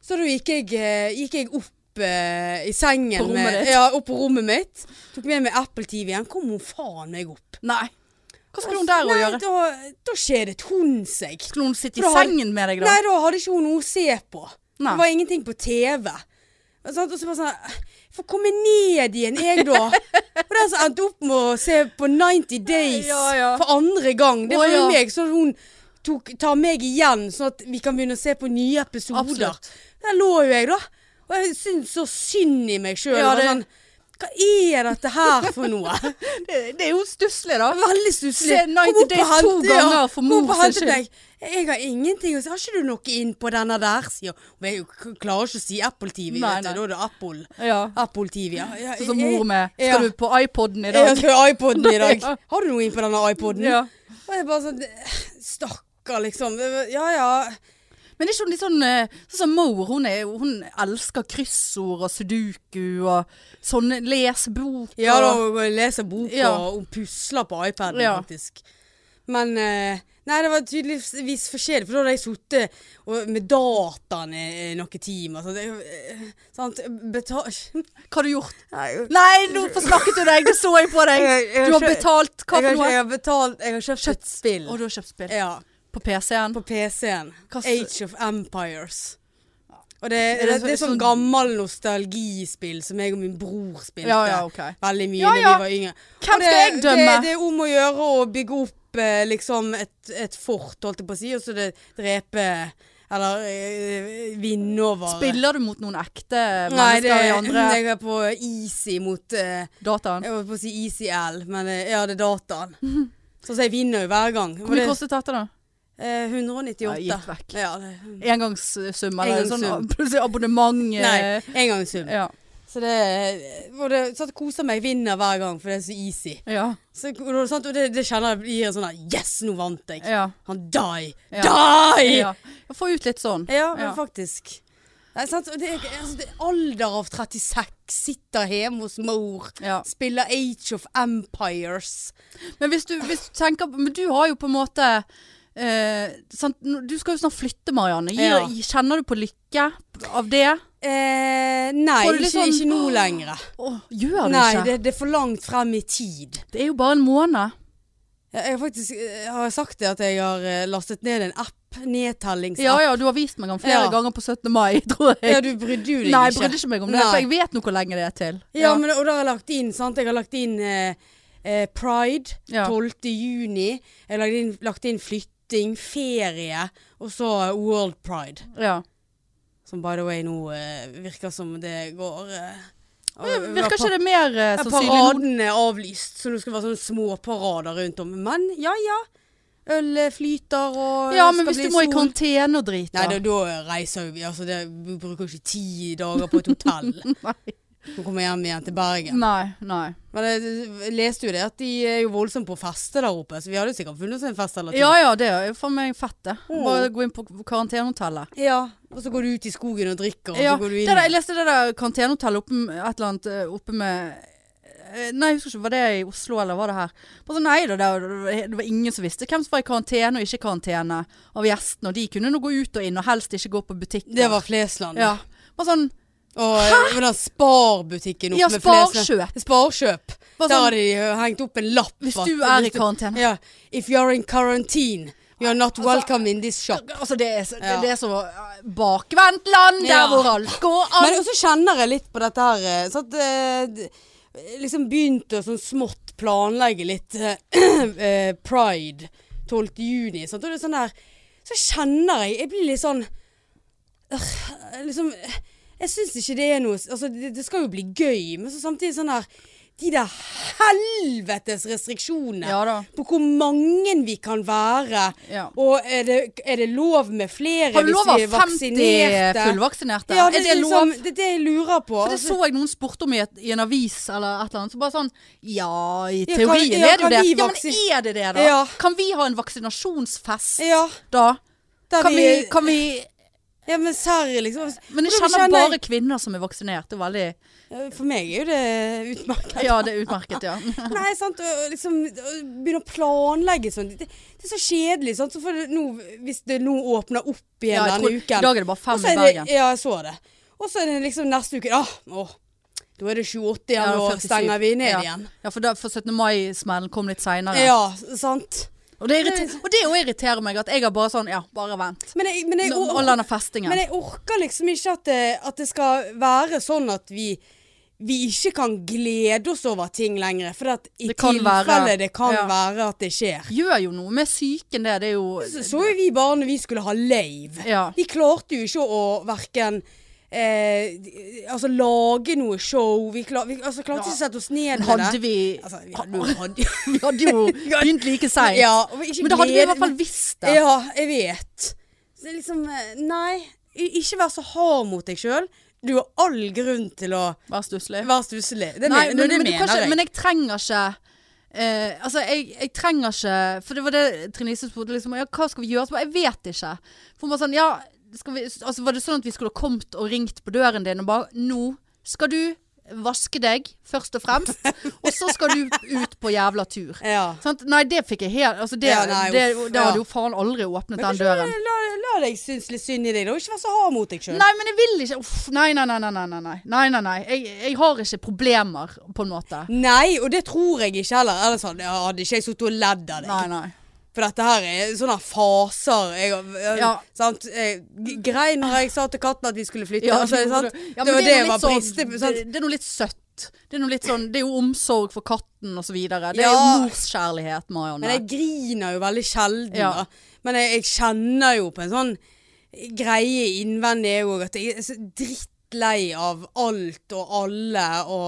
[SPEAKER 2] Så da gikk jeg, eh, gikk jeg opp eh, i sengen.
[SPEAKER 1] På rommet
[SPEAKER 2] med,
[SPEAKER 1] ditt.
[SPEAKER 2] Ja, opp på rommet mitt. Tok med meg Apple TV-en. Kom hun faen meg opp.
[SPEAKER 1] Nei. Hva skulle hun der å
[SPEAKER 2] Nei,
[SPEAKER 1] gjøre?
[SPEAKER 2] Da, da skjedet hun seg.
[SPEAKER 1] Skulle hun sitte
[SPEAKER 2] For
[SPEAKER 1] i
[SPEAKER 2] da har-
[SPEAKER 1] sengen med deg, da?
[SPEAKER 2] Nei, da hadde ikke hun noe å se på.
[SPEAKER 1] Nei.
[SPEAKER 2] Det var ingenting på TV. Og så, og så bare sånn Jeg får komme ned igjen, jeg, da. Og den som endte opp med å se på 90 Days
[SPEAKER 1] Ja, ja.
[SPEAKER 2] for andre gang, det
[SPEAKER 1] Å,
[SPEAKER 2] var jo
[SPEAKER 1] ja.
[SPEAKER 2] meg. Så hun tok, tar meg igjen, sånn at vi kan begynne å se på nye episoder.
[SPEAKER 1] Absolutt.
[SPEAKER 2] Der lå jo jeg, da. Og jeg syntes så synd i meg sjøl.
[SPEAKER 1] Ja, det-
[SPEAKER 2] sånn, hva er dette her for noe?
[SPEAKER 1] Det, det er jo stusslig, da.
[SPEAKER 2] Veldig stusslig.
[SPEAKER 1] Se 90
[SPEAKER 2] Kom opp og
[SPEAKER 1] Days to
[SPEAKER 2] hente, ja.
[SPEAKER 1] ganger for
[SPEAKER 2] Kom opp
[SPEAKER 1] mor
[SPEAKER 2] og
[SPEAKER 1] sin
[SPEAKER 2] hente
[SPEAKER 1] skyld.
[SPEAKER 2] deg. Jeg har ingenting å si. Har ikke du noe inn på denne der, sier hun. Men jeg k- klarer ikke å si Apple TV.
[SPEAKER 1] Nei,
[SPEAKER 2] vet du.
[SPEAKER 1] nei.
[SPEAKER 2] Da er det Apple.
[SPEAKER 1] Ja.
[SPEAKER 2] Apple TV, ja. ja
[SPEAKER 1] Sånn som mor med
[SPEAKER 2] Ja.
[SPEAKER 1] Skal du på iPoden i
[SPEAKER 2] jeg, jeg
[SPEAKER 1] dag?
[SPEAKER 2] skal ha iPoden i dag.
[SPEAKER 1] Ja.
[SPEAKER 2] Har du noe inn på denne iPoden?
[SPEAKER 1] Ja.
[SPEAKER 2] Og jeg bare sånn Stakkar, liksom. Ja ja.
[SPEAKER 1] Men er ikke hun litt sånn eh, Sånn som Moore, hun, er, jo- hun elsker kryssord og sudoku og sånne lesebok
[SPEAKER 2] Ja,
[SPEAKER 1] og
[SPEAKER 2] da leser bok
[SPEAKER 1] Ja.
[SPEAKER 2] og hun pusler på iPaden,
[SPEAKER 1] Ja.
[SPEAKER 2] faktisk. Men eh, Nei, det var tydeligvis forskjellig, for da hadde jeg sittet og- med dataene eh, noen timer. Så det, eh, sant? Betal...
[SPEAKER 1] Hva har du gjort?
[SPEAKER 2] Nei,
[SPEAKER 1] Nei, nå forsnakket du deg! Det så jeg på deg!
[SPEAKER 2] Jeg- jeg
[SPEAKER 1] Du har
[SPEAKER 2] skjø-
[SPEAKER 1] betalt hva
[SPEAKER 2] jeg, har,
[SPEAKER 1] for
[SPEAKER 2] ikke- jeg
[SPEAKER 1] noe?
[SPEAKER 2] har betalt Jeg har kjøpt et spill.
[SPEAKER 1] Og du har kjøpt spill.
[SPEAKER 2] Ja,
[SPEAKER 1] På PC-en.
[SPEAKER 2] på PC-en.
[SPEAKER 1] Hva s-
[SPEAKER 2] Age of Empires. Og det,
[SPEAKER 1] Er
[SPEAKER 2] det,
[SPEAKER 1] det
[SPEAKER 2] det,
[SPEAKER 1] så-
[SPEAKER 2] er sånn
[SPEAKER 1] sånn-
[SPEAKER 2] gammel nostalgispill som jeg og min bror spilte.
[SPEAKER 1] Ja, ja, ok.
[SPEAKER 2] Veldig mye
[SPEAKER 1] Ja,
[SPEAKER 2] da
[SPEAKER 1] ja.
[SPEAKER 2] vi var yngre.
[SPEAKER 1] Hvem skal
[SPEAKER 2] Og
[SPEAKER 1] jeg dømme?
[SPEAKER 2] Det, det er om å gjøre å bygge opp eh, liksom et, et fort, holdt jeg på å si, og så det drepe Eller eh, vinne over
[SPEAKER 1] Spiller du mot noen ekte
[SPEAKER 2] Nei, det,
[SPEAKER 1] mennesker i andre
[SPEAKER 2] jeg er på easy mot eh,
[SPEAKER 1] dataen?
[SPEAKER 2] Jeg holdt på å si easy L, men eh, ja, det er dataen. Så jeg vinner jo hver gang.
[SPEAKER 1] Hvor
[SPEAKER 2] Og
[SPEAKER 1] mye
[SPEAKER 2] det-
[SPEAKER 1] kostet dette, da?
[SPEAKER 2] Eh, 198.
[SPEAKER 1] Ja, gitt vekk.
[SPEAKER 2] Ja, det,
[SPEAKER 1] Engangssum, eller sånn
[SPEAKER 2] Engangssum.
[SPEAKER 1] plutselig abonnement? eh,
[SPEAKER 2] nei, engangssum.
[SPEAKER 1] Ja.
[SPEAKER 2] Så det, og det så det koser meg, vinner hver gang, for det er så easy.
[SPEAKER 1] Ja.
[SPEAKER 2] Så, og det, sant, og det, det kjenner jeg gir en sånn der Yes, nå vant jeg!
[SPEAKER 1] ja.
[SPEAKER 2] Han die!
[SPEAKER 1] Ja.
[SPEAKER 2] Die! Ja,
[SPEAKER 1] ja. Få ut litt sånn.
[SPEAKER 2] men
[SPEAKER 1] Ja.
[SPEAKER 2] faktisk. Nei, sant? Og det, er- altså, det, er alder av 36, sitter hjemme hos mor,
[SPEAKER 1] Ja.
[SPEAKER 2] spiller Age of Empires.
[SPEAKER 1] Men hvis du, hvis du tenker på- Men du har jo på en måte eh, sant? Nå- Du skal jo snart flytte, Marianne. Gir,
[SPEAKER 2] Ja.
[SPEAKER 1] Kjenner du på lykke av det?
[SPEAKER 2] Eh, nei,
[SPEAKER 1] Får du
[SPEAKER 2] ikke,
[SPEAKER 1] litt sånn-
[SPEAKER 2] ikke nå lenger.
[SPEAKER 1] Åh, gjør du
[SPEAKER 2] Nei,
[SPEAKER 1] ikke?
[SPEAKER 2] det, det er for langt frem i tid.
[SPEAKER 1] Det er jo bare en måned.
[SPEAKER 2] Jeg jeg har faktisk eh, har jeg sagt det at jeg har eh, lastet ned en app, nedtellingsapp.
[SPEAKER 1] Ja ja, du har vist meg den flere
[SPEAKER 2] Ja.
[SPEAKER 1] ganger på 17. mai, tror jeg.
[SPEAKER 2] Ja, du brydde jo deg
[SPEAKER 1] Nei, jeg
[SPEAKER 2] ikke.
[SPEAKER 1] brydde ikke meg om det, for
[SPEAKER 2] Nei.
[SPEAKER 1] jeg vet nå hvor lenge det er til.
[SPEAKER 2] Ja, men, og da har jeg lagt inn, sant? Jeg har lagt inn eh, eh, Pride
[SPEAKER 1] Ja.
[SPEAKER 2] 12. juni. Jeg har lagt inn, lagt inn flytting, ferie, og så World Pride.
[SPEAKER 1] ja.
[SPEAKER 2] Som by the way nå eh, virker som det går eh,
[SPEAKER 1] Men Virker ikke det mer eh,
[SPEAKER 2] Ja,
[SPEAKER 1] sannsynlig nå?
[SPEAKER 2] Paraden er avlyst, så nå skal det være sånne småparader rundt om. Men ja, ja. Øl eh, flyter og
[SPEAKER 1] Ja,
[SPEAKER 2] det
[SPEAKER 1] men
[SPEAKER 2] skal
[SPEAKER 1] hvis du
[SPEAKER 2] bli
[SPEAKER 1] må i
[SPEAKER 2] sol.
[SPEAKER 1] karantene og drite
[SPEAKER 2] Nei, da, da reiser vi. Altså, det, vi bruker ikke ti dager på et hotell.
[SPEAKER 1] Nei.
[SPEAKER 2] Vi kommer hjem igjen til Bergen.
[SPEAKER 1] Nei, nei.
[SPEAKER 2] Men jeg, jeg leste jo det at de er jo voldsomt på feste der oppe, så vi hadde sikkert funnet oss en fest eller to.
[SPEAKER 1] Ja ja, det er jo for meg fett, det.
[SPEAKER 2] Mm.
[SPEAKER 1] Bare gå inn på karantenehotellet.
[SPEAKER 2] Ja, Og så går du ut i skogen og drikker, og
[SPEAKER 1] Ja,
[SPEAKER 2] så går du
[SPEAKER 1] det
[SPEAKER 2] inn
[SPEAKER 1] der, jeg leste det der karantenehotellet oppe, med- et eller annet, eh, oppe med eh, Nei, jeg husker ikke, var det i Oslo eller var det her? Bare sånn, nei, det, der, det var ingen som visste hvem som var i karantene og ikke i karantene av gjestene. Og de kunne nå gå ut og inn, og helst ikke gå på butikker.
[SPEAKER 2] Det var Flesland.
[SPEAKER 1] ja. Bare sånn,
[SPEAKER 2] Og eh, den sparbutikken oppe
[SPEAKER 1] ja,
[SPEAKER 2] med Flesland.
[SPEAKER 1] sparkjøp.
[SPEAKER 2] Sparkjøp.
[SPEAKER 1] Bare
[SPEAKER 2] Der
[SPEAKER 1] sånn,
[SPEAKER 2] har de eh, hengt opp en lapp.
[SPEAKER 1] Hvis
[SPEAKER 2] at-
[SPEAKER 1] du er i
[SPEAKER 2] hvis
[SPEAKER 1] karantene.
[SPEAKER 2] Ja. If you are in quarantine, you are not welcome in this shop.
[SPEAKER 1] Altså, det er, så- det,
[SPEAKER 2] Ja.
[SPEAKER 1] det er så eh, bakvendt land der
[SPEAKER 2] Ja.
[SPEAKER 1] hvor alt går an.
[SPEAKER 2] Men også kjenner jeg litt på dette her eh, Så at eh, d- liksom begynte å sånn smått planlegge litt eh, eh, Pride 12. juni sant? Og det er sånn der Så kjenner jeg Jeg blir litt sånn øh, Liksom eh, Jeg synes ikke det er noe Altså det, det skal jo bli gøy Men så samtidig sånn der De der helvetes restriksjonene
[SPEAKER 1] ja da.
[SPEAKER 2] På hvor mange vi kan være
[SPEAKER 1] Ja.
[SPEAKER 2] Og er det, er det lov med flere
[SPEAKER 1] Har du
[SPEAKER 2] hvis
[SPEAKER 1] lov
[SPEAKER 2] vi
[SPEAKER 1] av
[SPEAKER 2] er
[SPEAKER 1] 50
[SPEAKER 2] vaksinerte?
[SPEAKER 1] fullvaksinerte?
[SPEAKER 2] Ja, det er
[SPEAKER 1] er det
[SPEAKER 2] liksom,
[SPEAKER 1] lov?
[SPEAKER 2] det, er det jeg lurer på.
[SPEAKER 1] For det så
[SPEAKER 2] Altså,
[SPEAKER 1] jeg noen spurte om i, et, i en avis eller et eller annet. Så bare sånn Ja, i
[SPEAKER 2] Ja, kan-
[SPEAKER 1] teorien er det
[SPEAKER 2] ja,
[SPEAKER 1] jo
[SPEAKER 2] kan
[SPEAKER 1] det.
[SPEAKER 2] vi
[SPEAKER 1] Ja, men
[SPEAKER 2] vaksin-
[SPEAKER 1] er det det, da?
[SPEAKER 2] Ja.
[SPEAKER 1] Kan vi ha en vaksinasjonsfest
[SPEAKER 2] ja,
[SPEAKER 1] da?
[SPEAKER 2] der
[SPEAKER 1] Kan vi,
[SPEAKER 2] vi,
[SPEAKER 1] kan vi
[SPEAKER 2] ja, men serr, liksom.
[SPEAKER 1] Men jeg
[SPEAKER 2] Og da
[SPEAKER 1] kjenner
[SPEAKER 2] kjenner
[SPEAKER 1] bare kvinner som er vaksinert. Det er veldig
[SPEAKER 2] For meg er jo det utmerket.
[SPEAKER 1] Ja, det er utmerket, ja.
[SPEAKER 2] Nei, sant, og og liksom og begynne å planlegge sånn. Det, det er så kjedelig, sant. Så får det nå, hvis det nå åpner opp igjen
[SPEAKER 1] ja jeg tror,
[SPEAKER 2] denne
[SPEAKER 1] I
[SPEAKER 2] uken.
[SPEAKER 1] dag er det bare
[SPEAKER 2] Og
[SPEAKER 1] fem
[SPEAKER 2] så
[SPEAKER 1] i
[SPEAKER 2] er
[SPEAKER 1] Bergen.
[SPEAKER 2] Det, ja, jeg så det. Og så er det liksom neste uke ah, åh, Da er det 28 igjen,
[SPEAKER 1] Ja,
[SPEAKER 2] og
[SPEAKER 1] 47.
[SPEAKER 2] stenger vi ned
[SPEAKER 1] Ja.
[SPEAKER 2] igjen.
[SPEAKER 1] Ja, for, da, for 17. mai-smellen kom litt seinere.
[SPEAKER 2] Ja, sant.
[SPEAKER 1] Og det irriterer, og det jo irriterer meg at jeg har bare sånn Ja, bare vent.
[SPEAKER 2] Men jeg, men jeg,
[SPEAKER 1] Nå- All denne festingen.
[SPEAKER 2] Men jeg orker liksom ikke at det, at det skal være sånn at vi, vi ikke kan glede oss over ting lenger. For at i
[SPEAKER 1] Det kan
[SPEAKER 2] tilfelle
[SPEAKER 1] være.
[SPEAKER 2] det kan
[SPEAKER 1] Ja.
[SPEAKER 2] være at det skjer.
[SPEAKER 1] Gjør jo noe med psyken, det. Det er jo
[SPEAKER 2] Så, så jo vi bare når vi skulle ha lave.
[SPEAKER 1] Ja.
[SPEAKER 2] Vi klarte jo ikke å verken eh, altså lage noe show. Vi, klar, vi altså, klarte ikke å sette oss ned med
[SPEAKER 1] Hadde
[SPEAKER 2] det.
[SPEAKER 1] vi
[SPEAKER 2] Altså, vi hadde jo hadde,
[SPEAKER 1] Vi hadde jo begynt like seint.
[SPEAKER 2] ja, og vi ikke
[SPEAKER 1] Men da hadde vi i
[SPEAKER 2] glede-
[SPEAKER 1] hvert fall visst det.
[SPEAKER 2] Ja, jeg vet. Så det er liksom eh, Nei. i- Ikke vær så hard mot deg sjøl. Du har all grunn til å
[SPEAKER 1] Vær stusslig.
[SPEAKER 2] Vær stusslig. Det,
[SPEAKER 1] Nei, men,
[SPEAKER 2] men, det
[SPEAKER 1] men, du
[SPEAKER 2] mener
[SPEAKER 1] kan ikke,
[SPEAKER 2] jeg.
[SPEAKER 1] men jeg trenger ikke eh, altså, jeg, jeg trenger ikke For det var det Trine Lise spurte. Liksom, ja, hva skal vi gjøre? Så bare, jeg vet ikke. For hun bare sånn, ja, skal vi, altså, var det sånn at vi skulle ha kommet og ringt på døren din og bare Nå skal du vaske deg, først og fremst, og så skal du ut på jævla tur.
[SPEAKER 2] Ja.
[SPEAKER 1] Sant? Nei, det fikk jeg helt altså det,
[SPEAKER 2] Ja, nei,
[SPEAKER 1] det,
[SPEAKER 2] uff,
[SPEAKER 1] Da hadde
[SPEAKER 2] ja.
[SPEAKER 1] jo faen aldri åpnet
[SPEAKER 2] Men
[SPEAKER 1] den
[SPEAKER 2] kanskje
[SPEAKER 1] døren.
[SPEAKER 2] La, la deg synes litt synd i deg, da. Ikke vær så hard mot deg sjøl.
[SPEAKER 1] Nei, men jeg vil ikke Uff, nei, nei, nei. nei, nei, nei, nei, nei, nei, nei. Jeg, jeg har ikke problemer, på en måte.
[SPEAKER 2] Nei, og det tror jeg ikke heller. Ellers hadde ja, hadde ikke jeg sittet og ledd av deg.
[SPEAKER 1] Nei, nei.
[SPEAKER 2] For dette her er sånne faser. Jeg, jeg,
[SPEAKER 1] Ja.
[SPEAKER 2] sant? Jeg, g- grei når jeg sa til katten at vi skulle flytte.
[SPEAKER 1] Ja,
[SPEAKER 2] altså,
[SPEAKER 1] det gjorde
[SPEAKER 2] sant?
[SPEAKER 1] du. Ja,
[SPEAKER 2] Det
[SPEAKER 1] men
[SPEAKER 2] var
[SPEAKER 1] er jo
[SPEAKER 2] det jeg var
[SPEAKER 1] litt sånn-
[SPEAKER 2] briste sant?
[SPEAKER 1] det, det er noe litt søtt. Det er, noe litt sånn, det er jo omsorg for katten og så videre. Det er
[SPEAKER 2] Ja.
[SPEAKER 1] jo morskjærlighet, Marianne.
[SPEAKER 2] Men jeg griner jo veldig sjelden.
[SPEAKER 1] Ja.
[SPEAKER 2] Da. Men jeg, jeg kjenner jo på en sånn greie innvendig jeg òg at jeg er så drittlei av alt og alle og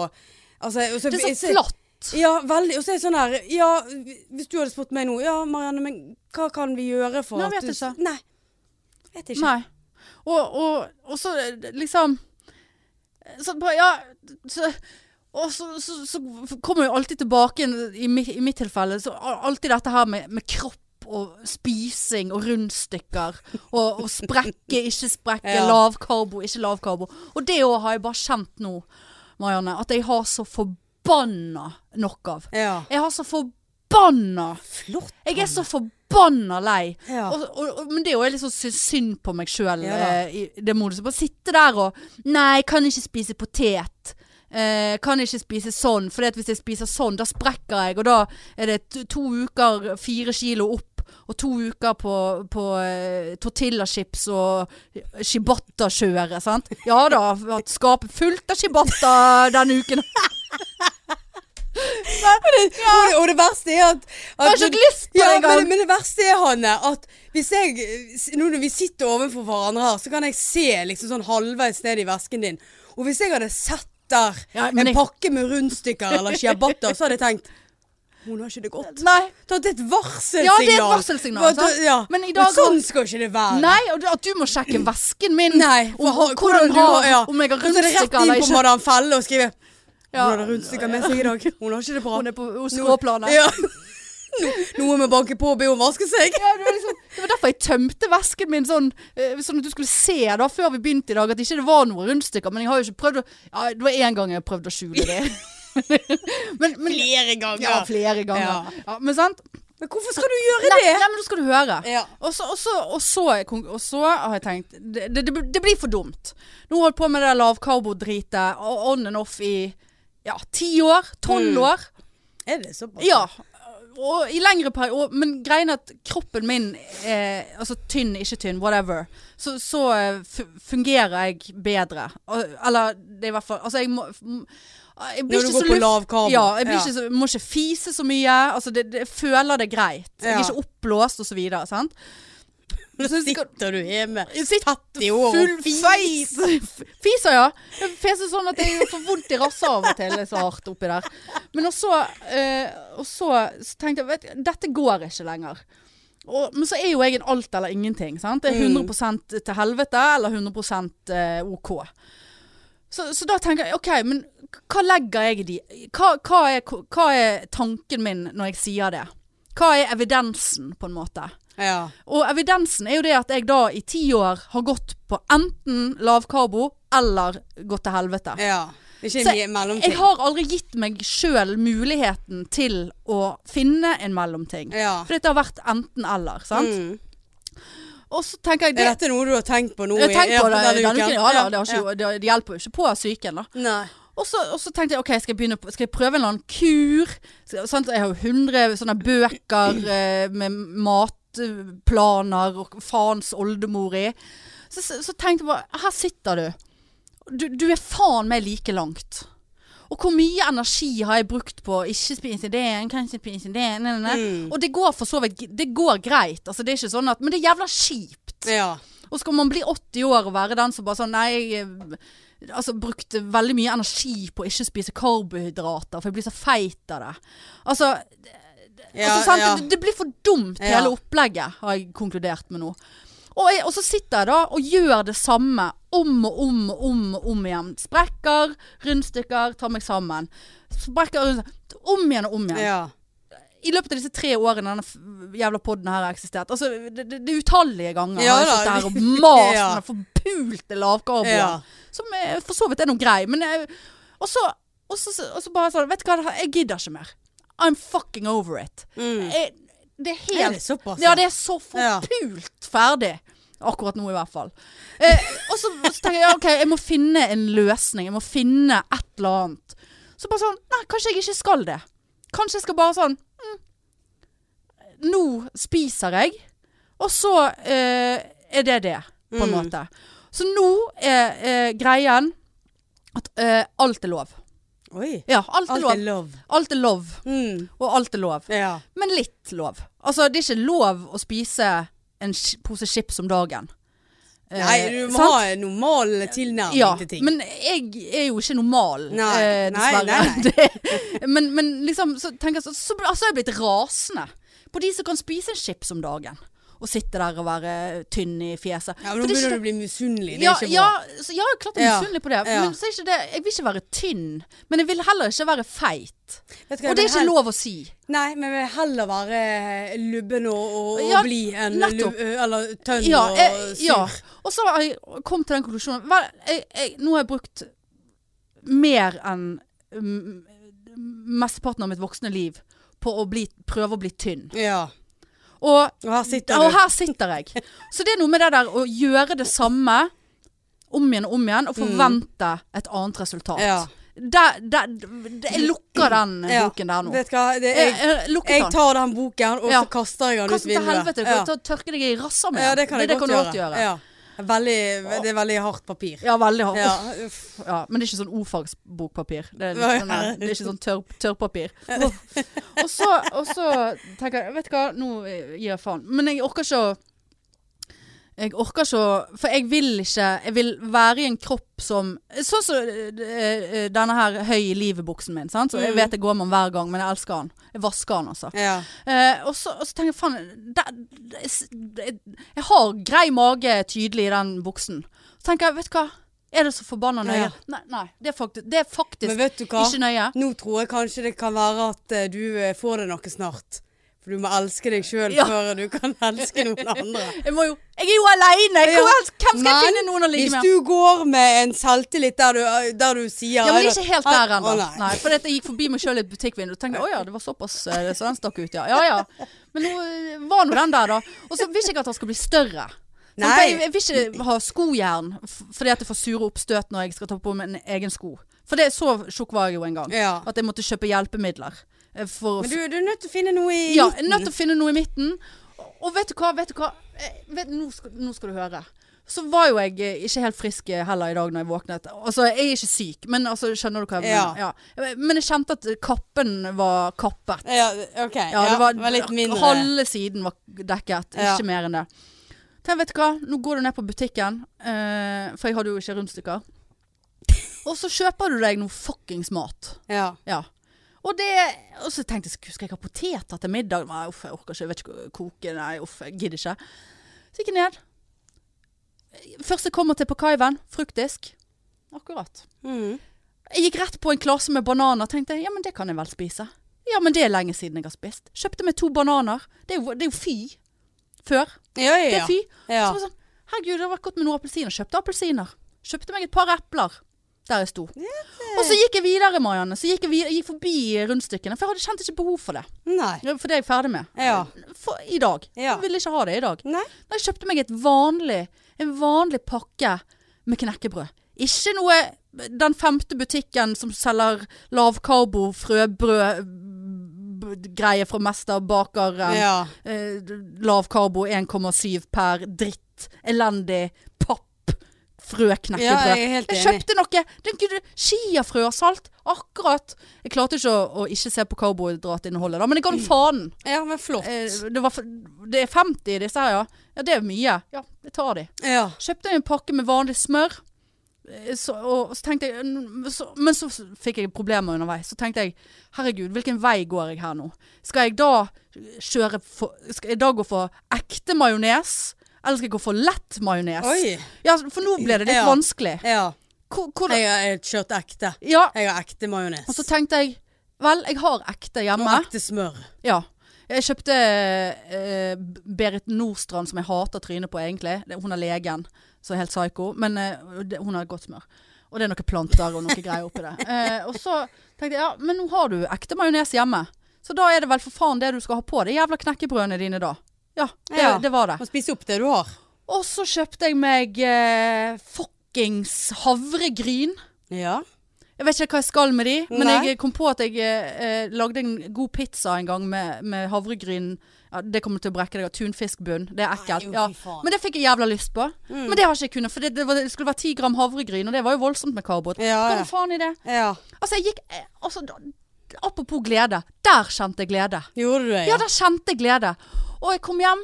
[SPEAKER 2] altså, og
[SPEAKER 1] det er så
[SPEAKER 2] jeg-
[SPEAKER 1] flatt.
[SPEAKER 2] Ja, veldig. Og så er det sånn her Ja, hvis du hadde spurt meg nå Ja, Marianne, men hva kan vi gjøre for
[SPEAKER 1] Nei,
[SPEAKER 2] at
[SPEAKER 1] vet
[SPEAKER 2] du
[SPEAKER 1] ikke.
[SPEAKER 2] Nei. Vet ikke.
[SPEAKER 1] Nei. Og, og, og så liksom så, bare, Ja så, Og så, så, så kommer jo alltid tilbake igjen, i, mi, i mitt tilfelle, så al- alltid dette her med, med kropp. Og spising og rundstykker. Og, og sprekke, ikke sprekke.
[SPEAKER 2] Ja.
[SPEAKER 1] Lavkarbo, ikke lavkarbo. Og det òg har jeg bare kjent nå, Marianne, at jeg har så forbanna nok av.
[SPEAKER 2] Ja.
[SPEAKER 1] Jeg har så forbanna
[SPEAKER 2] Flott.
[SPEAKER 1] Jeg er så forbanna lei.
[SPEAKER 2] Ja.
[SPEAKER 1] Og, og, og, men det er jo jeg liksom sy- synd på meg sjøl
[SPEAKER 2] Ja da.
[SPEAKER 1] eh, i det moduset. Bare sitte der og Nei, kan ikke spise potet. Eh, kan ikke spise sånn. For hvis jeg spiser sånn, da sprekker jeg. Og da er det to, to uker fire kilo opp. Og to uker på, på eh, tortillachips og shibata-kjøret, sant. Ja da, at skapet fullt av shibata denne uken. Jeg
[SPEAKER 2] Og, det, og det verste er at, at
[SPEAKER 1] har ikke hatt lyst på
[SPEAKER 2] ja,
[SPEAKER 1] det
[SPEAKER 2] men,
[SPEAKER 1] engang.
[SPEAKER 2] men det verste er, Hanne, at hvis jeg eh, s- Nå når vi sitter overfor hverandre her, så kan jeg se liksom sånn halvveis ned i vesken din. Og hvis jeg hadde sett der
[SPEAKER 1] Ja, men
[SPEAKER 2] en
[SPEAKER 1] jeg-
[SPEAKER 2] pakke med rundstykker eller ciabatta, så hadde jeg tenkt Hun har ikke det godt.
[SPEAKER 1] Nei.
[SPEAKER 2] Det er et varselsignal.
[SPEAKER 1] Ja, det er et varselsignal,
[SPEAKER 2] Hva-
[SPEAKER 1] sant?
[SPEAKER 2] Ja.
[SPEAKER 1] Men
[SPEAKER 2] Men,
[SPEAKER 1] i dag-
[SPEAKER 2] sånn skal ikke det være.
[SPEAKER 1] Nei, og det- at du må sjekke vesken min.
[SPEAKER 2] Nei,
[SPEAKER 1] om,
[SPEAKER 2] for ha-
[SPEAKER 1] hvordan, har,
[SPEAKER 2] ja.
[SPEAKER 1] om jeg har
[SPEAKER 2] Og så er det rett
[SPEAKER 1] rundstykker
[SPEAKER 2] inn
[SPEAKER 1] eller
[SPEAKER 2] på
[SPEAKER 1] ikke.
[SPEAKER 2] Madam Felle og skrive
[SPEAKER 1] Ja.
[SPEAKER 2] Hun hadde rundstykker med seg i dag. Hun har ikke det bra.
[SPEAKER 1] Hun er på hos
[SPEAKER 2] Nå-
[SPEAKER 1] skråplanet.
[SPEAKER 2] Ja. No, noe med å banke på og be henne vaske seg.
[SPEAKER 1] Ja, det, var liksom, det var derfor jeg tømte vesken min sånn, eh, sånn at du skulle se da før vi begynte i dag at ikke det var noen rundstykker. Men jeg har jo ikke prøvd å ja, Det var én gang jeg prøvde å skjule det. men, men,
[SPEAKER 2] Flere ganger.
[SPEAKER 1] ja, flere
[SPEAKER 2] Ja.
[SPEAKER 1] ganger. Ja, men sant?
[SPEAKER 2] Men hvorfor skal du gjøre
[SPEAKER 1] Nei,
[SPEAKER 2] det?
[SPEAKER 1] nei, men nå skal du høre.
[SPEAKER 2] Ja.
[SPEAKER 1] Og så, og, så, og, så, er kon- og så har jeg tenkt Det, det, det blir for dumt. Nå har jeg holdt på med det der lavkarbo-dritet og on and off i ja, ti år. Tolv
[SPEAKER 2] Mm.
[SPEAKER 1] år.
[SPEAKER 2] Er det såpass?
[SPEAKER 1] Ja. Og i lengre periode Men greien er at kroppen min er, Altså tynn, ikke tynn, whatever. Så, så eh, fu- fungerer jeg bedre. Og- Eller det er i hvert fall Altså, jeg må m- jeg blir
[SPEAKER 2] Når du
[SPEAKER 1] ikke
[SPEAKER 2] går
[SPEAKER 1] så
[SPEAKER 2] på
[SPEAKER 1] luft-
[SPEAKER 2] lav karbo.
[SPEAKER 1] Ja, jeg blir
[SPEAKER 2] Ja.
[SPEAKER 1] Ikke så, må ikke fise så mye. Altså, det, det, jeg føler det greit. Jeg
[SPEAKER 2] Ja.
[SPEAKER 1] er ikke oppblåst og så videre. Sant?
[SPEAKER 2] Nå
[SPEAKER 1] Så skal-
[SPEAKER 2] sitter du hjemme
[SPEAKER 1] Jeg sitter
[SPEAKER 2] tett i år og
[SPEAKER 1] Full feis! Fiser, ja. Jeg feser sånn at jeg får vondt i rassa av og til. Det er så hardt oppi der. Men også, eh, og så, så tenkte jeg vet, du, Dette går ikke lenger. Og, men så er jo jeg en alt eller ingenting. Sant? Det er 100 til helvete eller 100 eh, OK. Så, så da tenker jeg OK, men hva legger jeg i de? Hva, hva, er, hva er tanken min når jeg sier det? Hva er evidensen, på en måte?
[SPEAKER 2] Ja.
[SPEAKER 1] Og evidensen er jo det at jeg da i ti år har gått på enten lavkarbo eller gått til helvete.
[SPEAKER 2] ja. Ikke
[SPEAKER 1] Så
[SPEAKER 2] en mellomting.
[SPEAKER 1] Jeg har aldri gitt meg sjøl muligheten til å finne en mellomting.
[SPEAKER 2] ja.
[SPEAKER 1] For det har vært enten eller, sant.
[SPEAKER 2] Mm.
[SPEAKER 1] Og så tenker jeg
[SPEAKER 2] Er
[SPEAKER 1] det
[SPEAKER 2] dette noe du har tenkt på nå? i-
[SPEAKER 1] jeg tenker på
[SPEAKER 2] ja,
[SPEAKER 1] det denne uken. Ja, da, det, har
[SPEAKER 2] Ja.
[SPEAKER 1] ikke, det, det hjelper jo ikke på psyken, da.
[SPEAKER 2] Nei.
[SPEAKER 1] Og så, og så tenkte jeg, ok, skal jeg, begynne, på- skal jeg prøve en eller annen kur? Skal, sant? Jeg har jo hundre sånne bøker eh, med matplaner og faens oldemor i. Så, så, så tenkte jeg bare, her sitter du. du. Du er faen meg like langt. Og hvor mye energi har jeg brukt på å ikke spise det, kan ikke spise det, nei, nei, nei.
[SPEAKER 2] Mm.
[SPEAKER 1] Og det går for så vidt, det går greit. Altså, det er ikke sånn at, men det er jævla kjipt.
[SPEAKER 2] Ja.
[SPEAKER 1] Og skal man bli 80 år og være den som bare sånn Nei, jeg eh, altså, brukte veldig mye energi på å ikke spise karbohydrater, for jeg blir så feit av det. Altså,
[SPEAKER 2] Ja,
[SPEAKER 1] altså sant?
[SPEAKER 2] ja.
[SPEAKER 1] Det, det blir for dumt,
[SPEAKER 2] Ja.
[SPEAKER 1] hele opplegget, har jeg konkludert med nå. Og, jeg, og så sitter jeg da og gjør det samme om og om og om og om igjen. Sprekker, rundstykker, tar meg sammen. Sprekker, rundstykker. Om igjen og om igjen
[SPEAKER 2] ja.
[SPEAKER 1] i løpet av disse tre årene denne f- jævla podden her har eksistert Altså, det, det, det er utallige ganger
[SPEAKER 2] Ja
[SPEAKER 1] har jeg
[SPEAKER 2] da.
[SPEAKER 1] sittet her og mast med
[SPEAKER 2] Ja.
[SPEAKER 1] den forpulte lavkarboen.
[SPEAKER 2] Ja.
[SPEAKER 1] Som eh, for så vidt er noe grei, men jeg, Og så, og så, og så bare sånn Vet du hva, jeg gidder ikke mer. I'm fucking over it.
[SPEAKER 2] Mm.
[SPEAKER 1] Jeg, Eh, det er
[SPEAKER 2] Er
[SPEAKER 1] helt
[SPEAKER 2] det såpass?
[SPEAKER 1] Ja, det er så
[SPEAKER 2] Ja.
[SPEAKER 1] forpult ferdig. Akkurat nå, i hvert fall. Eh, og så, så tenker jeg ja, OK, jeg må finne en løsning. Jeg må finne et eller annet. Så bare sånn Nei, kanskje jeg ikke skal det. Kanskje jeg skal bare sånn mm, Nå spiser jeg, og så eh, er det det, på en
[SPEAKER 2] Mm.
[SPEAKER 1] måte. Så nå er eh, greien at eh, alt er lov.
[SPEAKER 2] Oi.
[SPEAKER 1] Ja, alt er
[SPEAKER 2] Alt er
[SPEAKER 1] lov.
[SPEAKER 2] lov.
[SPEAKER 1] Alt er lov,
[SPEAKER 2] Mm.
[SPEAKER 1] og alt er lov.
[SPEAKER 2] Ja.
[SPEAKER 1] Men litt lov. Altså, det er ikke lov å spise en sk- pose chips om dagen. Eh,
[SPEAKER 2] Nei, du må
[SPEAKER 1] sant?
[SPEAKER 2] ha en normal tilnærming
[SPEAKER 1] ja,
[SPEAKER 2] til ting.
[SPEAKER 1] men jeg er jo ikke normal,
[SPEAKER 2] Nei,
[SPEAKER 1] eh,
[SPEAKER 2] nei,
[SPEAKER 1] dessverre.
[SPEAKER 2] nei, nei.
[SPEAKER 1] Det- men, men liksom, så tenker jeg så, så, altså, jeg er blitt rasende på de som kan spise en chips om dagen. Og sitte der og være tynn i fjeset.
[SPEAKER 2] ja,
[SPEAKER 1] For
[SPEAKER 2] men nå
[SPEAKER 1] det er ikke-
[SPEAKER 2] begynner du å bli misunnelig. Det
[SPEAKER 1] ja,
[SPEAKER 2] er ikke bra.
[SPEAKER 1] ja, så, ja, klart jeg er
[SPEAKER 2] Ja,
[SPEAKER 1] misunnelig på det.
[SPEAKER 2] ja.
[SPEAKER 1] Men så er ikke det, jeg vil ikke være tynn. Men jeg vil heller ikke være feit.
[SPEAKER 2] Vet
[SPEAKER 1] Og
[SPEAKER 2] du hva,
[SPEAKER 1] det er
[SPEAKER 2] jeg vil
[SPEAKER 1] ikke
[SPEAKER 2] hel-
[SPEAKER 1] lov å si.
[SPEAKER 2] Nei, men jeg vil heller være eh, lubben og, og, og
[SPEAKER 1] Ja,
[SPEAKER 2] bli enn
[SPEAKER 1] nettopp.
[SPEAKER 2] lub, eller tønn
[SPEAKER 1] Ja,
[SPEAKER 2] og
[SPEAKER 1] jeg,
[SPEAKER 2] sur.
[SPEAKER 1] ja. Og så har jeg kommet til den konklusjonen Vel, jeg, jeg, Nå har jeg brukt mer enn mm, mesteparten av mitt voksne liv på å bli, prøve å bli tynn.
[SPEAKER 2] Ja.
[SPEAKER 1] Og
[SPEAKER 2] Og her sitter
[SPEAKER 1] Og
[SPEAKER 2] du.
[SPEAKER 1] her sitter jeg. Så det er noe med det der å gjøre det samme om igjen og om igjen, og forvente et annet resultat.
[SPEAKER 2] Mm. Ja.
[SPEAKER 1] Der, der, der, jeg lukker den
[SPEAKER 2] Ja.
[SPEAKER 1] boken der nå.
[SPEAKER 2] Vet du hva, det,
[SPEAKER 1] Jeg,
[SPEAKER 2] jeg,
[SPEAKER 1] jeg lukket
[SPEAKER 2] jeg
[SPEAKER 1] den.
[SPEAKER 2] tar den boken, og
[SPEAKER 1] Ja.
[SPEAKER 2] så kaster jeg den ut
[SPEAKER 1] Kast den til
[SPEAKER 2] vinduet.
[SPEAKER 1] helvete. Du
[SPEAKER 2] Ja.
[SPEAKER 1] kan ta- tørke deg i rassa med
[SPEAKER 2] ja,
[SPEAKER 1] den.
[SPEAKER 2] det kan jeg
[SPEAKER 1] det
[SPEAKER 2] godt
[SPEAKER 1] du
[SPEAKER 2] gjøre.
[SPEAKER 1] alltid gjøre.
[SPEAKER 2] Ja. Veldig, det er veldig hardt papir.
[SPEAKER 1] Ja, veldig hardt.
[SPEAKER 2] Ja.
[SPEAKER 1] Uff,
[SPEAKER 2] uff.
[SPEAKER 1] Ja, men det er ikke sånn ordfagsbokpapir. Det er, litt sånn, der- det er ikke sånn tørr, tørrpapir. Uff. Og så, og så tenker jeg Vet du hva, nå gir jeg faen. Men jeg orker ikke å jeg orker ikke å For jeg vil ikke Jeg vil være i en kropp som Sånn som eh, denne her høy i livet-buksen min. Sant? Så jeg
[SPEAKER 2] Mm.
[SPEAKER 1] vet jeg går med den hver gang, men jeg elsker den. Jeg vasker den, altså.
[SPEAKER 2] Ja.
[SPEAKER 1] Eh, og, så, og så tenker jeg faen det- det- det- Jeg har grei mage tydelig i den buksen. Så tenker jeg, vet du hva. Er det så forbanna nøye?
[SPEAKER 2] Ja.
[SPEAKER 1] Nei, nei, det er faktisk, det er
[SPEAKER 2] Men
[SPEAKER 1] faktisk
[SPEAKER 2] vet du hva?
[SPEAKER 1] ikke nøye.
[SPEAKER 2] Nå tror jeg kanskje det kan være at eh, du eh, får det noe snart. For du må elske deg sjøl
[SPEAKER 1] Ja.
[SPEAKER 2] før du kan elske noen andre.
[SPEAKER 1] Jeg, må jo, jeg er jo aleine!
[SPEAKER 2] Ja.
[SPEAKER 1] Hvor helst- Hvem skal jeg
[SPEAKER 2] Men
[SPEAKER 1] finne noen å ligge
[SPEAKER 2] Hvis
[SPEAKER 1] med?
[SPEAKER 2] du går med en selvtillit der du, der du sier
[SPEAKER 1] Ja, men
[SPEAKER 2] «Nei,
[SPEAKER 1] ikke
[SPEAKER 2] da-
[SPEAKER 1] helt
[SPEAKER 2] Ah,
[SPEAKER 1] der ennå.
[SPEAKER 2] å,
[SPEAKER 1] Nei, for dette- jeg gikk forbi meg sjøl i et butikkvindu og tenkte å ja, det var såpass eh, så den stakk ut, ja. Ja ja. Men nå eh, var nå den der, da. Og så vil ikke jeg at han skal bli større. Sant?
[SPEAKER 2] Nei.
[SPEAKER 1] For Jeg, jeg vil ikke ha skojern f- fordi at jeg får sure oppstøt når jeg skal ta på meg en egen sko. For det så tjukk var jeg jo en gang.
[SPEAKER 2] Ja.
[SPEAKER 1] At jeg måtte kjøpe hjelpemidler. eh, For å
[SPEAKER 2] Men du, du er nødt til å finne noe i
[SPEAKER 1] Ja, jeg er nødt til å finne noe i midten. Og vet du hva, vet du hva? Eh, Vet, nå, skal, nå skal du høre. Så var jo jeg eh, ikke helt frisk eh, heller i dag når jeg våknet. Altså, jeg er ikke syk, men altså, skjønner du hva jeg
[SPEAKER 2] Ja.
[SPEAKER 1] mener? Ja. Men jeg kjente at eh, kappen var kappet.
[SPEAKER 2] Ja, OK. Ja,
[SPEAKER 1] Ja, det var,
[SPEAKER 2] litt mindre.
[SPEAKER 1] Halve siden var dekket, ikke
[SPEAKER 2] Ja.
[SPEAKER 1] mer enn det. Tenk, vet du hva, nå går du ned på butikken, eh, for jeg hadde jo ikke rundstykker. Og så kjøper du deg noe fuckings mat.
[SPEAKER 2] Ja.
[SPEAKER 1] Ja. Og, det, og så tenkte jeg, skal jeg ikke ha poteter til middag? Nei, uff, jeg orker ikke, jeg vet ikke å koke, nei, uff, jeg gidder ikke. Så gikk jeg ned. Først jeg kommer til på kaiven, fruktdisk. Akkurat.
[SPEAKER 2] Mm.
[SPEAKER 1] Jeg gikk rett på en klase med bananer, tenkte jeg, ja, men det kan jeg vel spise. Ja, men det er lenge siden jeg har spist. Kjøpte meg to bananer. Det er jo, det er jo fy. Før.
[SPEAKER 2] ja,
[SPEAKER 1] Det
[SPEAKER 2] ja,
[SPEAKER 1] er
[SPEAKER 2] ja.
[SPEAKER 1] fy. Så
[SPEAKER 2] ja.
[SPEAKER 1] var det sånn, herregud, det hadde vært godt med noen appelsiner. Kjøpte appelsiner. Kjøpte meg et par epler der jeg sto. Og så gikk jeg videre, Marianne. Så gikk jeg, videre, gikk forbi rundstykkene. For jeg hadde kjent ikke behov for det.
[SPEAKER 2] Nei.
[SPEAKER 1] For det er jeg ferdig med.
[SPEAKER 2] Ja.
[SPEAKER 1] For i dag.
[SPEAKER 2] Ja.
[SPEAKER 1] Jeg ville ikke ha det i dag.
[SPEAKER 2] Nei.
[SPEAKER 1] Da jeg kjøpte meg et vanlig, en vanlig pakke med knekkebrød. Ikke noe den femte butikken som selger lavkarbo frøbrød b- b- greie fra Mesterbakeren
[SPEAKER 2] Ja.
[SPEAKER 1] eh, lav karbo, 1,7 per dritt, elendig papp,
[SPEAKER 2] ja,
[SPEAKER 1] frøknekkebrød.
[SPEAKER 2] jeg er helt
[SPEAKER 1] jeg
[SPEAKER 2] enig.
[SPEAKER 1] kjøpte noe den kunne- chiafrø og salt. Akkurat. Jeg klarte ikke å, å ikke se på karbohydratinnholdet, da, men jeg ga den faen.
[SPEAKER 2] Ja, men flott.
[SPEAKER 1] Eh, Det, var, f- det er 50 i disse her, ja. Ja, det er mye. Ja, jeg tar de.
[SPEAKER 2] Ja.
[SPEAKER 1] Kjøpte en pakke med vanlig smør. eh, Så, og, så tenkte jeg mm, så, Men så s- fikk jeg problemer underveis. Så tenkte jeg herregud, hvilken vei går jeg her nå? Skal jeg da kjøre for, Skal jeg da gå for ekte majones? Eller skal jeg gå for lett majones?
[SPEAKER 2] Oi.
[SPEAKER 1] Ja, for nå ble det litt
[SPEAKER 2] Ja.
[SPEAKER 1] vanskelig.
[SPEAKER 2] Ja.
[SPEAKER 1] Hvor, hvor,
[SPEAKER 2] Jeg har jeg har kjørt ekte.
[SPEAKER 1] ja,
[SPEAKER 2] Jeg har ekte majones.
[SPEAKER 1] og så tenkte jeg Vel, jeg har ekte
[SPEAKER 2] Og
[SPEAKER 1] hjemme.
[SPEAKER 2] ekte smør.
[SPEAKER 1] Ja. Jeg kjøpte eh, Berit Nordstrand, som jeg hater trynet på egentlig. Det- Hun er legen, så er helt psyko. Men eh, det- hun har godt smør. Og det er noen planter og noe greier oppi det. Eh, og så tenkte jeg ja, men nå har du ekte majones hjemme. Så da er det vel for faen det du skal ha på de jævla knekkebrødene dine da. Ja, det,
[SPEAKER 2] Ja.
[SPEAKER 1] det var det.
[SPEAKER 2] Må spise opp det du har.
[SPEAKER 1] Og så kjøpte jeg meg eh, fuckings havregryn.
[SPEAKER 2] Ja.
[SPEAKER 1] Jeg vet ikke hva jeg skal med de, men
[SPEAKER 2] Nei.
[SPEAKER 1] jeg kom på at jeg eh, eh, lagde en god pizza en gang med, med havregryn. Ja, det kommer til å brekke deg av tunfiskbunn. Det er ekkelt.
[SPEAKER 2] Nei, jo,
[SPEAKER 1] Ja.
[SPEAKER 2] fy faen.
[SPEAKER 1] Men det fikk jeg jævla lyst på.
[SPEAKER 2] Mm.
[SPEAKER 1] Men det har ikke jeg kunnet, for det, det, var, det skulle være ti gram havregryn, og det var jo voldsomt med karbohydrat.
[SPEAKER 2] Ja,
[SPEAKER 1] Hva
[SPEAKER 2] ja.
[SPEAKER 1] faen i det?
[SPEAKER 2] ja.
[SPEAKER 1] Altså, jeg gikk eh, altså, da, Apropos glede. Der kjente jeg glede.
[SPEAKER 2] Gjorde du det?
[SPEAKER 1] Ja, der kjente jeg glede. Og jeg kom hjem,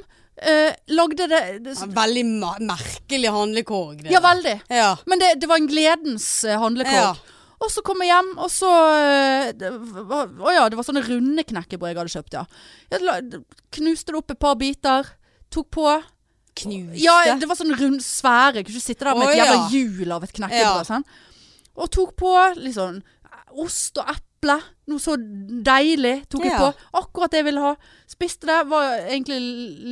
[SPEAKER 1] eh, lagde det, det
[SPEAKER 2] Ja, Veldig ma- merkelig handlekorg. det
[SPEAKER 1] Ja,
[SPEAKER 2] der.
[SPEAKER 1] veldig.
[SPEAKER 2] Ja.
[SPEAKER 1] Men det, det var en gledens eh, handlekorg.
[SPEAKER 2] Ja.
[SPEAKER 1] Og så kom jeg hjem, og så eh, det var- Å ja, det var sånne runde knekkebrød jeg hadde kjøpt, ja. Jeg la, knuste det opp et par biter, tok på.
[SPEAKER 2] Knuste.
[SPEAKER 1] Ja, det var sånn rund, svære. Jeg kunne ikke sitte der med
[SPEAKER 2] Å,
[SPEAKER 1] et
[SPEAKER 2] ja.
[SPEAKER 1] jævla hjul av et knekkebrød.
[SPEAKER 2] Ja.
[SPEAKER 1] sant? Og tok på litt sånn ost og eple. Noe så deilig tok jeg
[SPEAKER 2] Ja.
[SPEAKER 1] på. Akkurat det jeg ville ha. Spiste det. Var egentlig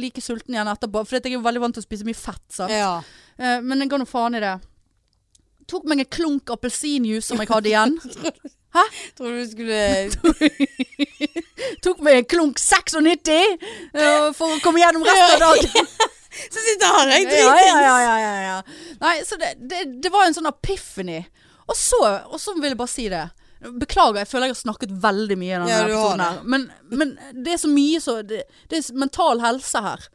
[SPEAKER 1] like sulten igjen etterpå. For jeg er jo veldig vant til å spise mye fett. sant?
[SPEAKER 2] Ja.
[SPEAKER 1] Eh, men jeg ga nå faen i det. Tok meg en klunk appelsinjuice som jeg hadde igjen.
[SPEAKER 2] Tror du du skulle
[SPEAKER 1] Tok meg en klunk 96 eh, for å komme gjennom resten av dagen.
[SPEAKER 2] Så sitter jeg her,
[SPEAKER 1] Ja,
[SPEAKER 2] jeg
[SPEAKER 1] ja,
[SPEAKER 2] dritings.
[SPEAKER 1] ja, ja, ja, ja. Nei, så det, det, det var en sånn epiphany. Og så, og så vil jeg bare si det. Beklager, jeg føler jeg har snakket veldig mye i denne
[SPEAKER 2] Ja, du har
[SPEAKER 1] episoden. her men, men det er så mye så Det, det er mental helse her.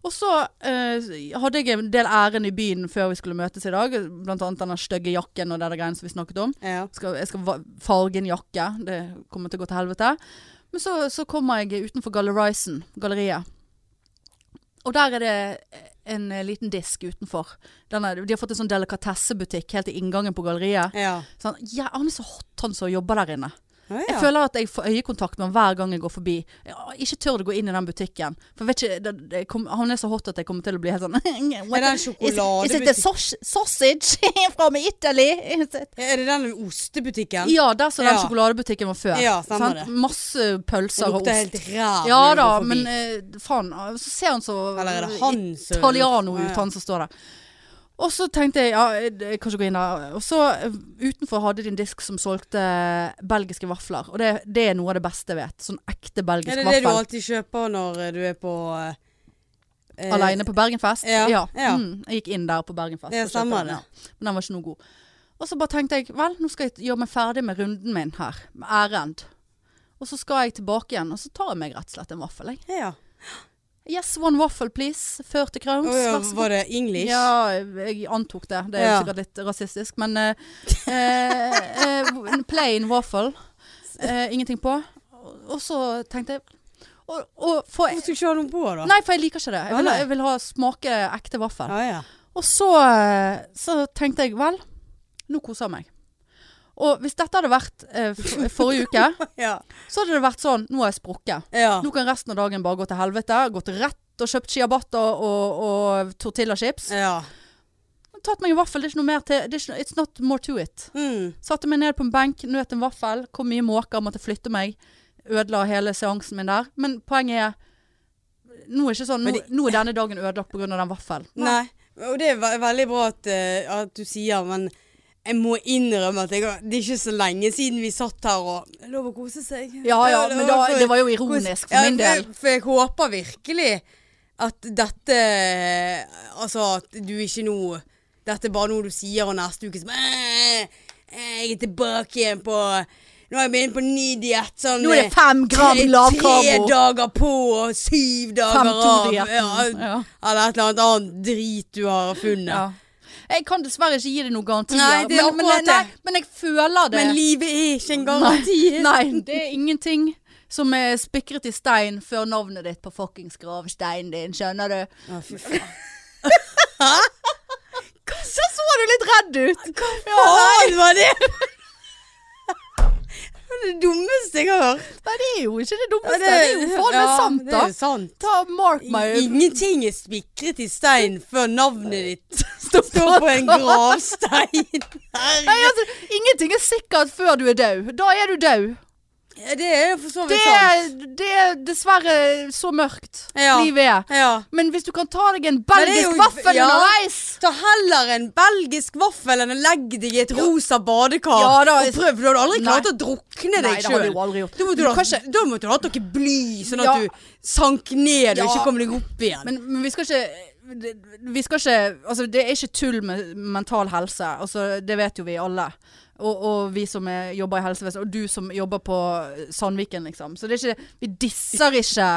[SPEAKER 1] Og så eh, hadde jeg en del ærend i byen før vi skulle møtes i dag. Blant annet denne stygge jakken og de greiene som vi snakket om.
[SPEAKER 2] Ja.
[SPEAKER 1] skal, jeg skal va- farge en jakke. Det kommer til å gå til helvete. Men så, så kommer jeg utenfor Gallerisen, galleriet. Og der er det en eh, liten disk utenfor. Den er, de har fått en sånn delikatessebutikk helt i inngangen på galleriet.
[SPEAKER 2] Ja.
[SPEAKER 1] Sånn, ja, han er så hot, han som jobber der inne.
[SPEAKER 2] Ja,
[SPEAKER 1] Jeg
[SPEAKER 2] ja.
[SPEAKER 1] føler at jeg får øyekontakt med han hver gang jeg går forbi. Jeg har ikke tør å gå inn i den butikken. For jeg vet ikke, det, det kom, Han er så hot at jeg kommer til å bli helt sånn
[SPEAKER 2] Er det en
[SPEAKER 1] Is, is it
[SPEAKER 2] sjokoladebutikk?
[SPEAKER 1] a saus- sausage from Italy? Is it?
[SPEAKER 2] Er det den ostebutikken?
[SPEAKER 1] Ja, der som den
[SPEAKER 2] Ja.
[SPEAKER 1] sjokoladebutikken var før.
[SPEAKER 2] Ja, stemmer
[SPEAKER 1] Sant?
[SPEAKER 2] det.
[SPEAKER 1] Masse pølser
[SPEAKER 2] Det
[SPEAKER 1] og
[SPEAKER 2] lukter
[SPEAKER 1] ost.
[SPEAKER 2] helt ræv
[SPEAKER 1] Ja
[SPEAKER 2] når du
[SPEAKER 1] da,
[SPEAKER 2] går forbi.
[SPEAKER 1] men eh, faen. ah, Så ser han så eh,
[SPEAKER 2] Eller er det han som
[SPEAKER 1] italiano
[SPEAKER 2] Ja, ja.
[SPEAKER 1] ut, han som står der. Og så tenkte jeg ja, jeg jeg kan ikke gå inn der. Og så eh, utenfor hadde de en disk som solgte belgiske vafler. Og det, det er noe av det beste jeg vet. Sånn ekte
[SPEAKER 2] Er
[SPEAKER 1] belgisk
[SPEAKER 2] det det du
[SPEAKER 1] vaffel.
[SPEAKER 2] alltid kjøper når eh, du er på eh,
[SPEAKER 1] Aleine på Bergenfest.
[SPEAKER 2] ja, ja.
[SPEAKER 1] Mm, jeg gikk inn der på Bergenfest.
[SPEAKER 2] Ja,
[SPEAKER 1] og kjøpte den,
[SPEAKER 2] stemmer det.
[SPEAKER 1] Ja. Men den var ikke noe god. Og så bare tenkte jeg vel, nå skal jeg gjøre meg ferdig med runden min her, med ærend. Og så skal jeg tilbake igjen, og så tar jeg meg rett og slett en vaffel. Jeg.
[SPEAKER 2] Ja.
[SPEAKER 1] Yes, one waffle please. 40 crowns.
[SPEAKER 2] Å ja,
[SPEAKER 1] vær så god.
[SPEAKER 2] eh, var det English?
[SPEAKER 1] Ja, jeg antok det. Det er
[SPEAKER 2] Ja.
[SPEAKER 1] sikkert litt rasistisk, men eh, eh, En plain waffle. Eh, ingenting på. Og så tenkte jeg og, og for,
[SPEAKER 2] Hvorfor skulle du ikke ha noen på, da?
[SPEAKER 1] Nei, for jeg liker ikke det.
[SPEAKER 2] Å,
[SPEAKER 1] Jeg vil, ha-
[SPEAKER 2] nei.
[SPEAKER 1] jeg vil ha smake ekte vaffel.
[SPEAKER 2] Ja, ja.
[SPEAKER 1] Og så, eh, så tenkte jeg, vel, nå koser jeg meg. Og hvis dette hadde vært eh, for, forrige uke,
[SPEAKER 2] Ja.
[SPEAKER 1] så hadde det vært sånn, nå har jeg sprukket.
[SPEAKER 2] ja.
[SPEAKER 1] Nå kan resten av dagen bare gå til helvete, gått rett og kjøpt ciabatta og, og tortillachips.
[SPEAKER 2] ja.
[SPEAKER 1] Tatt meg en vaffel, det er ikke noe mer til, det er ikke, it's not more to it.
[SPEAKER 2] Mm.
[SPEAKER 1] Satte meg ned på en benk, nøt en vaffel, kom mye måker, måtte flytte meg. Ødela hele seansen min der. Men poenget er, nå er, ikke sånn, nå,
[SPEAKER 2] Men det-
[SPEAKER 1] nå er denne dagen ødelagt på grunn av den vaffelen.
[SPEAKER 2] Nei. Og det er ve veldig bra at, eh, at du sier, men jeg må innrømme at jeg, har- det er ikke så lenge siden vi satt her og Lov å kose seg.
[SPEAKER 1] Ja, ja, men da,
[SPEAKER 2] for-
[SPEAKER 1] det var jo ironisk for
[SPEAKER 2] Ja,
[SPEAKER 1] min del.
[SPEAKER 2] For, for jeg håper virkelig at dette Altså at du ikke nå Dette er bare noe du sier, og neste uke så «Æ, Jeg er tilbake igjen på Nå har jeg begynt på en ny diett. Sånn,
[SPEAKER 1] Nå er det fem gram
[SPEAKER 2] tre- Tre
[SPEAKER 1] lavkarbo.
[SPEAKER 2] dager på og syv dager av.
[SPEAKER 1] Fem-to-dietten.
[SPEAKER 2] Ja,
[SPEAKER 1] Ja.
[SPEAKER 2] eller et eller annet annet drit du har funnet.
[SPEAKER 1] Ja. Jeg kan dessverre ikke gi deg noen garantier.
[SPEAKER 2] Nei, det er
[SPEAKER 1] men,
[SPEAKER 2] akkurat
[SPEAKER 1] men,
[SPEAKER 2] det.
[SPEAKER 1] nei, men jeg føler det.
[SPEAKER 2] Men livet er ikke en garanti.
[SPEAKER 1] nei, det er ingenting som er spikret i stein før navnet ditt på fuckings gravsteinen din, skjønner du?
[SPEAKER 2] Å, fy faen.
[SPEAKER 1] Så så du litt redd ut!
[SPEAKER 2] Faen, var det Det er det dummeste jeg har hørt.
[SPEAKER 1] Nei, det er jo ikke det dummeste. det, er jo faen meg
[SPEAKER 2] ja,
[SPEAKER 1] sant,
[SPEAKER 2] det
[SPEAKER 1] da.
[SPEAKER 2] er jo sant.
[SPEAKER 1] Ta mark my
[SPEAKER 2] Ingenting er spikret i stein før navnet ditt står på en gravstein.
[SPEAKER 1] Nei, altså, ingenting er sikkert før du er død. Da er du død.
[SPEAKER 2] Ja, Det er jo for så
[SPEAKER 1] Det,
[SPEAKER 2] vidt sant.
[SPEAKER 1] det er dessverre så mørkt
[SPEAKER 2] Ja.
[SPEAKER 1] livet er.
[SPEAKER 2] Ja.
[SPEAKER 1] Men hvis du kan ta deg en
[SPEAKER 2] Men det er
[SPEAKER 1] belgisk
[SPEAKER 2] jo-
[SPEAKER 1] vaffel
[SPEAKER 2] ja.
[SPEAKER 1] underveis
[SPEAKER 2] Ta heller en belgisk vaffel enn å legge deg i et rosa badekar.
[SPEAKER 1] Ja, da-
[SPEAKER 2] og prøv, for du hadde aldri
[SPEAKER 1] Nei.
[SPEAKER 2] klart å drukne
[SPEAKER 1] Nei,
[SPEAKER 2] deg
[SPEAKER 1] det hadde jeg
[SPEAKER 2] sjøl.
[SPEAKER 1] jo aldri gjort.
[SPEAKER 2] Da måtte du,
[SPEAKER 1] Men
[SPEAKER 2] ha- da måtte du hatt noe bly, sånn
[SPEAKER 1] Ja.
[SPEAKER 2] at du sank ned og
[SPEAKER 1] Ja.
[SPEAKER 2] ikke kom deg opp igjen.
[SPEAKER 1] Men, men vi skal ikke det- vi skal ikke, altså Det er ikke tull med mental helse. Altså, det vet jo vi alle. Og, og vi som er, jobber i helsevesenet, og du som jobber på Sandviken, liksom. Så det er ikke, vi disser ikke.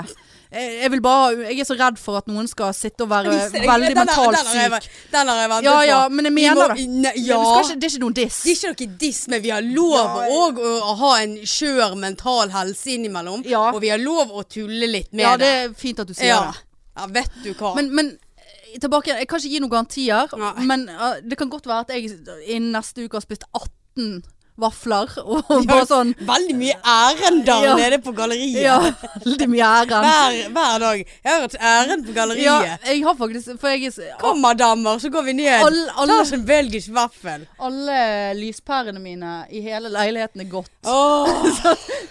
[SPEAKER 1] Jeg, jeg, vil bare, jeg er så redd for at noen skal sitte og være veldig mentalt syk.
[SPEAKER 2] syk. Den har jeg ventet
[SPEAKER 1] Ja
[SPEAKER 2] på.
[SPEAKER 1] ja, men jeg
[SPEAKER 2] Vi
[SPEAKER 1] mener
[SPEAKER 2] må-
[SPEAKER 1] det.
[SPEAKER 2] Ne,
[SPEAKER 1] Det-
[SPEAKER 2] ja.
[SPEAKER 1] Det, skal ikke, det er ikke noen diss.
[SPEAKER 2] Det er ikke noe diss, men vi har lov
[SPEAKER 1] Ja,
[SPEAKER 2] òg å, å ha en skjør mental helse innimellom.
[SPEAKER 1] Ja.
[SPEAKER 2] Og vi har lov å tulle litt med
[SPEAKER 1] Ja, det er fint at du sier
[SPEAKER 2] ja.
[SPEAKER 1] det.
[SPEAKER 2] ja, vet du hva.
[SPEAKER 1] Men, men eh, tilbake igjen, jeg kan ikke gi noen garantier,
[SPEAKER 2] Nei.
[SPEAKER 1] men eh, det kan godt være at jeg innen neste uke har spist 18 vafler, og
[SPEAKER 2] Vi har
[SPEAKER 1] bare sånn
[SPEAKER 2] Veldig mye ærender
[SPEAKER 1] Ja.
[SPEAKER 2] nede på galleriet.
[SPEAKER 1] Ja, veldig mye æren.
[SPEAKER 2] Hver, hver dag. Jeg har et ærend på
[SPEAKER 1] Ja,
[SPEAKER 2] galleriet.
[SPEAKER 1] jeg har faktisk For jeg er s-
[SPEAKER 2] Kom, madammer, så går vi ned.
[SPEAKER 1] Alle- alle-
[SPEAKER 2] Ta oss en belgisk vaffel.
[SPEAKER 1] Alle lyspærene mine i hele leiligheten er gått.
[SPEAKER 2] Åh.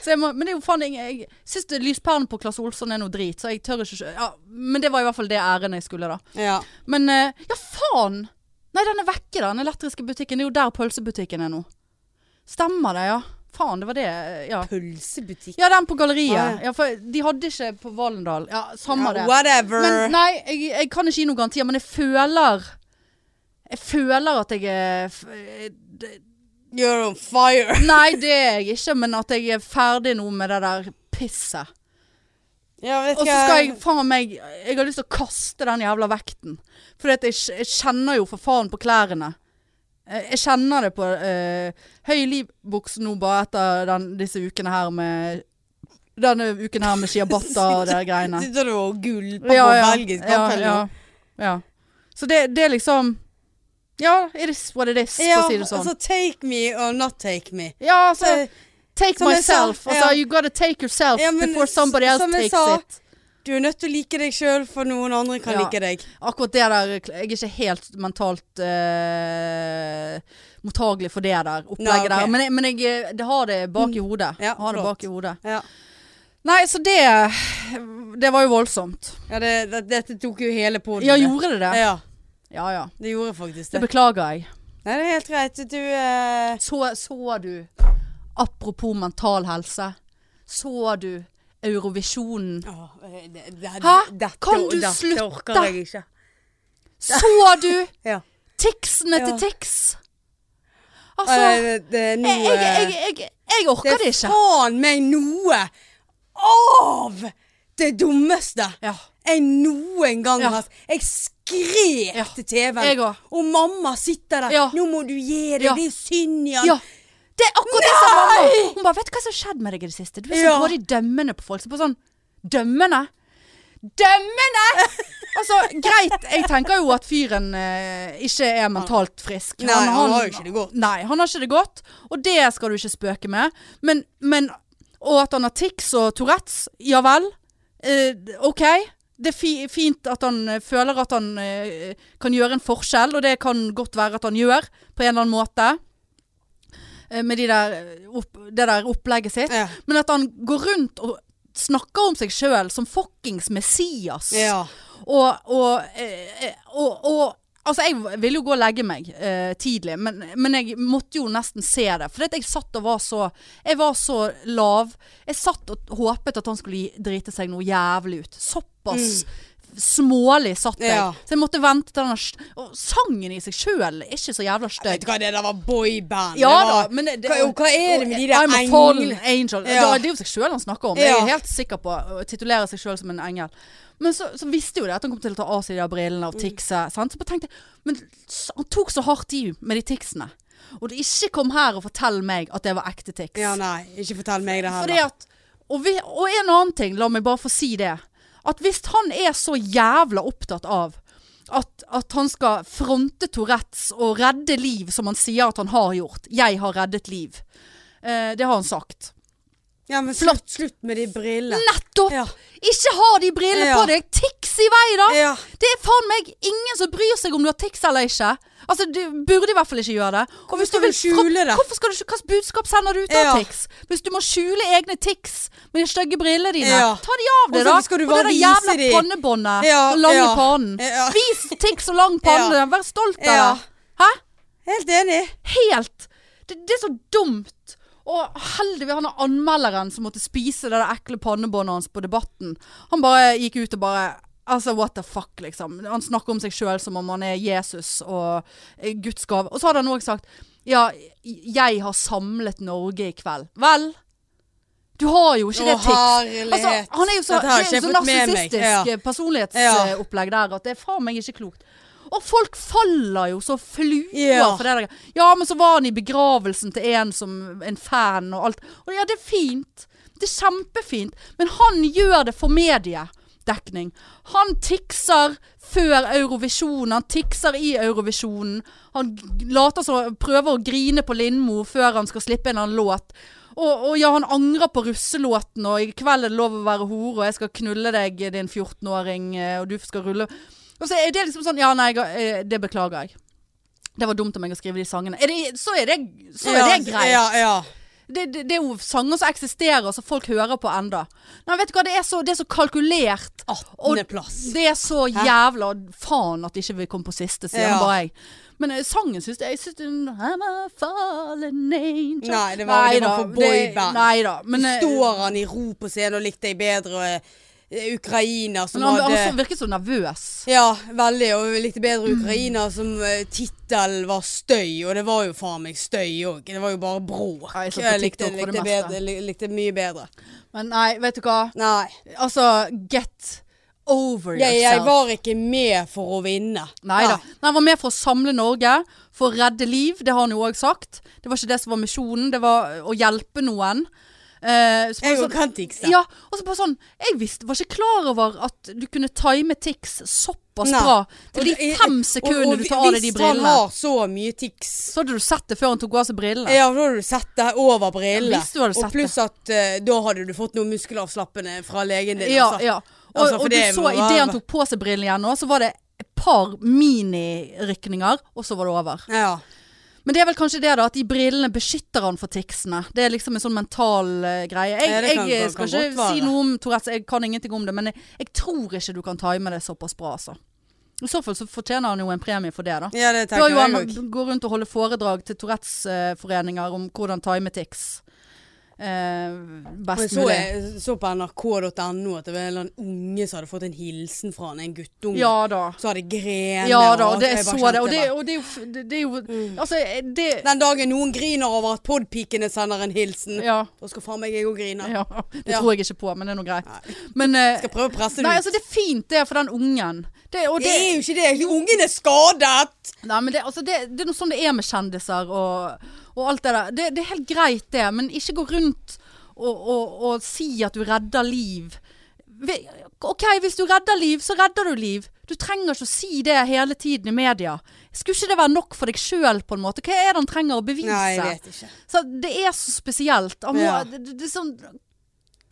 [SPEAKER 1] Så jeg må, men det er jo faen ingen- Jeg syns det- lyspærene på Claes Olsson er noe drit, så jeg tør ikke ja, Men det var i hvert fall det ærendet jeg skulle, da.
[SPEAKER 2] Ja.
[SPEAKER 1] Men eh, ja, faen! Nei, den er vekke, da, den elektriske butikken. Det er jo der pølsebutikken er nå. Stemmer det, ja. Faen, det var det. Ja,
[SPEAKER 2] Pølsebutikk.
[SPEAKER 1] ja den på galleriet.
[SPEAKER 2] Ah,
[SPEAKER 1] Ja, for de hadde ikke på Valendal. Ja, samme
[SPEAKER 2] Ja,
[SPEAKER 1] det.
[SPEAKER 2] whatever.
[SPEAKER 1] Men nei, jeg, jeg kan ikke gi noen garantier, men jeg føler Jeg føler at jeg er f- eh, det-
[SPEAKER 2] You're on fire.
[SPEAKER 1] Nei, det er jeg ikke, men at jeg er ferdig nå med det der pisset.
[SPEAKER 2] Ja, vet
[SPEAKER 1] Og så skal jeg faen meg Jeg har lyst til å kaste den jævla vekten. For jeg, kj- jeg kjenner jo for faen på klærne. Eh, Jeg kjenner det på eh, høy livbuks nå bare etter den, disse ukene her med Denne uken her med ciabatta og de greiene.
[SPEAKER 2] Sitter du og gulper på
[SPEAKER 1] Ja, ja.
[SPEAKER 2] belgisk
[SPEAKER 1] Ja,
[SPEAKER 2] vaffel? nå?
[SPEAKER 1] ja, ja. Så det, det er liksom Ja, it is what it is, for å si det sånn.
[SPEAKER 2] altså take me or not take me.
[SPEAKER 1] ja, altså
[SPEAKER 2] Eh,
[SPEAKER 1] Take
[SPEAKER 2] som jeg sa,
[SPEAKER 1] myself.
[SPEAKER 2] ja.
[SPEAKER 1] Altså, you gotta take yourself
[SPEAKER 2] Ja, men
[SPEAKER 1] before somebody else
[SPEAKER 2] som
[SPEAKER 1] takes
[SPEAKER 2] jeg sa,
[SPEAKER 1] it.
[SPEAKER 2] Du er nødt til å like deg sjøl, for noen andre kan
[SPEAKER 1] Ja.
[SPEAKER 2] like deg.
[SPEAKER 1] Akkurat det der Jeg er ikke helt mentalt eh, mottagelig for det der opplegget
[SPEAKER 2] Nei, ok. Mm.
[SPEAKER 1] der. Men, jeg, men jeg, det har det bak i hodet.
[SPEAKER 2] Ja,
[SPEAKER 1] har det
[SPEAKER 2] flott.
[SPEAKER 1] bak i hodet.
[SPEAKER 2] Ja,
[SPEAKER 1] Nei, så det Det var jo voldsomt.
[SPEAKER 2] ja det, det, Dette tok jo hele poden.
[SPEAKER 1] Ja, gjorde det det?
[SPEAKER 2] Ja,
[SPEAKER 1] Ja ja.
[SPEAKER 2] det gjorde faktisk
[SPEAKER 1] Det
[SPEAKER 2] det.
[SPEAKER 1] beklager jeg.
[SPEAKER 2] Nei, det er helt greit. Du eh,
[SPEAKER 1] Så, så du Apropos mental helse Så du Eurovisjonen
[SPEAKER 2] åh, eh, det, det,
[SPEAKER 1] Hæ?
[SPEAKER 2] Dette,
[SPEAKER 1] Kan du
[SPEAKER 2] dette
[SPEAKER 1] slutte?
[SPEAKER 2] orker jeg ikke.
[SPEAKER 1] Så du
[SPEAKER 2] Ja.
[SPEAKER 1] Tiksene
[SPEAKER 2] Ja.
[SPEAKER 1] til Tix Altså jeg,
[SPEAKER 2] Eh, det er noe
[SPEAKER 1] jeg, jeg, jeg, jeg
[SPEAKER 2] Det
[SPEAKER 1] orker det
[SPEAKER 2] er
[SPEAKER 1] ikke
[SPEAKER 2] faen meg noe av det dummeste
[SPEAKER 1] ja.
[SPEAKER 2] jeg noen gang
[SPEAKER 1] Ja.
[SPEAKER 2] har Jeg skrek
[SPEAKER 1] Ja.
[SPEAKER 2] til TV-en.
[SPEAKER 1] Jeg også.
[SPEAKER 2] Og mamma sitter der.
[SPEAKER 1] Ja.
[SPEAKER 2] Nå må du gi deg.
[SPEAKER 1] Ja.
[SPEAKER 2] Det er synd i han.
[SPEAKER 1] ja Det er akkurat det som mamma Hun bare, vet du hva som har skjedd med deg i det siste? Du er så
[SPEAKER 2] Ja.
[SPEAKER 1] grådig dømmende på folk Så bare sånn, dømmende? Dømmende! Altså, greit, jeg tenker jo at fyren eh, ikke er mentalt frisk.
[SPEAKER 2] Nei, han har jo ikke det godt.
[SPEAKER 1] Nei, han har ikke det godt, og det skal du ikke spøke med. Men, men og at han har tics og Tourettes, ja vel. Eh, ok. Det er fi fint at han eh, føler at han eh, kan gjøre en forskjell, og det kan godt være at han gjør, på en eller annen måte. Eh, med de der, eh, opp, det der opplegget sitt.
[SPEAKER 2] Ja.
[SPEAKER 1] Men at han går rundt og snakker om seg sjøl som fuckings Messias.
[SPEAKER 2] Ja.
[SPEAKER 1] Og, og, eh, eh, og, og Altså, jeg ville jo gå og legge meg eh, tidlig, men, men jeg måtte jo nesten se det. For jeg satt og var så Jeg var så lav. Jeg satt og håpet at han skulle gi- drite seg noe jævlig ut. Såpass smålig satt jeg.
[SPEAKER 2] Ja.
[SPEAKER 1] Så jeg måtte vente til den st- Og sangen i seg sjøl er ikke så jævla
[SPEAKER 2] Vet
[SPEAKER 1] stygg.
[SPEAKER 2] du hva, det der var boyband.
[SPEAKER 1] Ja
[SPEAKER 2] det
[SPEAKER 1] da,
[SPEAKER 2] var,
[SPEAKER 1] men det- det-
[SPEAKER 2] hva, jo, hva er det med de der
[SPEAKER 1] I'm a fallen
[SPEAKER 2] englene?
[SPEAKER 1] angel.
[SPEAKER 2] Ja.
[SPEAKER 1] Da, det er jo seg sjøl han snakker om. Jeg
[SPEAKER 2] Ja.
[SPEAKER 1] er helt sikker på å titulere seg sjøl som en engel. Men så, så visste jo det at han kom til å ta av seg de der brillene og
[SPEAKER 2] Mm.
[SPEAKER 1] ticse. Sant? Så bare tenkte jeg Men s- han tok så hardt i med de ticsene. Og det ikke kom her og fortell meg at det var ekte tics.
[SPEAKER 2] Ja, nei, ikke fortell meg det her.
[SPEAKER 1] Fordi
[SPEAKER 2] da.
[SPEAKER 1] at og, vi, og en annen ting, la meg bare få si det. At hvis han er så jævla opptatt av at, at han skal fronte Tourettes og redde liv, som han sier at han har gjort. Jeg har reddet liv. Eh, det har han sagt.
[SPEAKER 2] Ja, men slutt, slutt med de brillene.
[SPEAKER 1] Nettopp!
[SPEAKER 2] Ja.
[SPEAKER 1] Ikke ha de brillene
[SPEAKER 2] Ja.
[SPEAKER 1] på deg! Tics i vei, da!
[SPEAKER 2] ja.
[SPEAKER 1] Det er faen meg ingen som bryr seg om du har tics eller ikke. Altså, Du burde i hvert fall ikke gjøre det. Og
[SPEAKER 2] Hvorfor skal du
[SPEAKER 1] fra-
[SPEAKER 2] skjule det?
[SPEAKER 1] Hvorfor skal du, Hvilket budskap sender du ut av
[SPEAKER 2] Ja.
[SPEAKER 1] tics? Hvis du må skjule egne tics med de stygge brillene dine,
[SPEAKER 2] Ja.
[SPEAKER 1] ta de av deg,
[SPEAKER 2] Og så
[SPEAKER 1] da!
[SPEAKER 2] skal du
[SPEAKER 1] og det
[SPEAKER 2] bare
[SPEAKER 1] der
[SPEAKER 2] vise
[SPEAKER 1] jævla
[SPEAKER 2] de-
[SPEAKER 1] pannebåndet
[SPEAKER 2] Ja,
[SPEAKER 1] og lange
[SPEAKER 2] ja.
[SPEAKER 1] pannen.
[SPEAKER 2] Ja.
[SPEAKER 1] Vis tics og lang panne! Vær stolt av
[SPEAKER 2] Ja.
[SPEAKER 1] det! Hæ?
[SPEAKER 2] Helt enig.
[SPEAKER 1] Helt det, det er så dumt. Og heldigvis han er anmelderen som måtte spise det der ekle pannebåndet hans på Debatten. Han bare gikk ut og bare Altså, what the fuck, liksom. Han snakker om seg sjøl som om han er Jesus og eh, Guds gave. Og så hadde han òg sagt Ja, jeg har samlet Norge i kveld. Vel? Du har jo ikke det
[SPEAKER 2] Å,
[SPEAKER 1] tics.
[SPEAKER 2] herlighet.
[SPEAKER 1] Altså, han er jo så,
[SPEAKER 2] Dette har
[SPEAKER 1] det er
[SPEAKER 2] ikke
[SPEAKER 1] jo så
[SPEAKER 2] jeg fått med meg.
[SPEAKER 1] narsissistisk
[SPEAKER 2] Ja.
[SPEAKER 1] eh, personlighetsopplegg der at det er faen meg ikke klokt. Og folk faller jo så fluer
[SPEAKER 2] Ja.
[SPEAKER 1] for det der. Ja, men så var han i begravelsen til en som en fan og alt. Og ja, det er fint. Det er kjempefint. Men han gjør det for mediedekning. Han tikser før Eurovisjonen. Han tikser i Eurovisjonen. Han g- later som prøver å grine på Lindmo før han skal slippe en eller annen låt. Og, og ja, han angrer på russelåten, og i kveld er det lov å være hore, og jeg skal knulle deg, din 14-åring, eh, og du skal rulle Og så er det liksom sånn Ja, nei, jeg har- eh, det beklager jeg. Det var dumt av meg å skrive de sangene. Er det, så er det, så er det greit.
[SPEAKER 2] Ja, ja.
[SPEAKER 1] Det, det, det er jo sanger som eksisterer, som folk hører på enda. Nei, vet du hva, det er så, det er så kalkulert. Og
[SPEAKER 2] plass.
[SPEAKER 1] det er så jævla faen at ikke vi kom på siste, sier
[SPEAKER 2] Ja.
[SPEAKER 1] bare jeg. Men eh, sangen syns jeg, jeg synes den I'm a fallen angel.
[SPEAKER 2] Nei, det var- det var
[SPEAKER 1] Neida,
[SPEAKER 2] for boyband.
[SPEAKER 1] Nei da. Men, eh,
[SPEAKER 2] Står han i ro på scenen og likte deg bedre? Og, eh, Ukraina som
[SPEAKER 1] men han,
[SPEAKER 2] hadde
[SPEAKER 1] han virket så nervøs.
[SPEAKER 2] Ja, veldig. Og likte bedre Ukraina som uh, tittel var støy, og det var jo faen meg støy òg. Det var jo bare bråk.
[SPEAKER 1] Ja, jeg så på
[SPEAKER 2] likte,
[SPEAKER 1] TikTok for det
[SPEAKER 2] likte,
[SPEAKER 1] meste.
[SPEAKER 2] bedre, li- likte mye bedre.
[SPEAKER 1] Men nei, vet du hva.
[SPEAKER 2] Nei.
[SPEAKER 1] Altså, get over
[SPEAKER 2] Jeg,
[SPEAKER 1] yourself.
[SPEAKER 2] jeg var ikke med for å vinne.
[SPEAKER 1] Nei da. Han var med for å samle Norge, for å redde liv. Det har han jo òg sagt. Det var ikke det som var misjonen, det var eh, å hjelpe noen. Eh, så bare
[SPEAKER 2] Jeg
[SPEAKER 1] sånn-
[SPEAKER 2] og Kantix, da.
[SPEAKER 1] ja, og så bare sånn Jeg visste, var ikke klar over at du kunne time tics såpass
[SPEAKER 2] Nei.
[SPEAKER 1] bra. Til de
[SPEAKER 2] Og-
[SPEAKER 1] fem sekundene du tar av deg de
[SPEAKER 2] Hvis han
[SPEAKER 1] brillene.
[SPEAKER 2] har så mye tics
[SPEAKER 1] Så hadde du sett det før han tok av seg brillene.
[SPEAKER 2] Ja, for da hadde du sett det over brillene.
[SPEAKER 1] Ja, hvis du hadde sett
[SPEAKER 2] og pluss at eh, da hadde du fått noe muskelavslappende fra legen din.
[SPEAKER 1] Ja,
[SPEAKER 2] altså.
[SPEAKER 1] ja. Og,
[SPEAKER 2] Altså, for
[SPEAKER 1] og du
[SPEAKER 2] det
[SPEAKER 1] så
[SPEAKER 2] må være-
[SPEAKER 1] idet han tok på seg brillene igjen nå, så var det et par minirykninger, og så var det over.
[SPEAKER 2] ja.
[SPEAKER 1] Men det er vel kanskje det da, at de brillene beskytter han for ticsene. Det er liksom en sånn mental eh, greie. Jeg,
[SPEAKER 2] Ja, det kan-
[SPEAKER 1] jeg eh,
[SPEAKER 2] kan-
[SPEAKER 1] skal
[SPEAKER 2] kan godt
[SPEAKER 1] ikke si
[SPEAKER 2] være.
[SPEAKER 1] noe om Tourettes, jeg kan ingenting om det, men jeg, jeg tror ikke du kan time det såpass bra, altså. I så fall så fortjener han jo en premie for det, da.
[SPEAKER 2] ja, det
[SPEAKER 1] Bør
[SPEAKER 2] tenker
[SPEAKER 1] jo han
[SPEAKER 2] jeg òg.
[SPEAKER 1] gå rundt og holde foredrag til Tourettes-foreninger om hvordan time tics eh,
[SPEAKER 2] Men
[SPEAKER 1] best
[SPEAKER 2] så,
[SPEAKER 1] mulig.
[SPEAKER 2] jeg så på nrk.no at det var en eller annen unge som hadde fått en hilsen fra han, en guttunge.
[SPEAKER 1] Ja da.
[SPEAKER 2] Så hadde grener.
[SPEAKER 1] Ja da,
[SPEAKER 2] og
[SPEAKER 1] og det,
[SPEAKER 2] jeg
[SPEAKER 1] jeg
[SPEAKER 2] bare
[SPEAKER 1] så det.
[SPEAKER 2] kjente
[SPEAKER 1] Og det,
[SPEAKER 2] bare,
[SPEAKER 1] og det er jo, f- det, det er jo
[SPEAKER 2] Mm.
[SPEAKER 1] Altså, det
[SPEAKER 2] Den dagen noen griner over at podpikene sender en hilsen,
[SPEAKER 1] Ja.
[SPEAKER 2] da skal faen meg jeg òg grine.
[SPEAKER 1] ja. Det
[SPEAKER 2] Ja.
[SPEAKER 1] tror jeg ikke på, men det er nå greit. Men eh,
[SPEAKER 2] Skal prøve å presse det
[SPEAKER 1] Nei,
[SPEAKER 2] ut.
[SPEAKER 1] altså det er fint det for den ungen. Det, og
[SPEAKER 2] det
[SPEAKER 1] det,
[SPEAKER 2] er jo ikke det! Ungen er skadet!
[SPEAKER 1] nei, men det, altså det, det er noe sånn det er med kjendiser og, og alt det der. Det, det er helt greit det, men ikke gå rundt og, og, og si at du redder liv. Vi- Ok, hvis du redder liv, så redder du liv. Du trenger ikke å si det hele tiden i media. Skulle ikke det være nok for deg sjøl, på en måte? Hva er det han trenger å bevise?
[SPEAKER 2] Nei, jeg vet ikke.
[SPEAKER 1] Så det er så spesielt. Han må,
[SPEAKER 2] Ja.
[SPEAKER 1] det, det, det er sånn,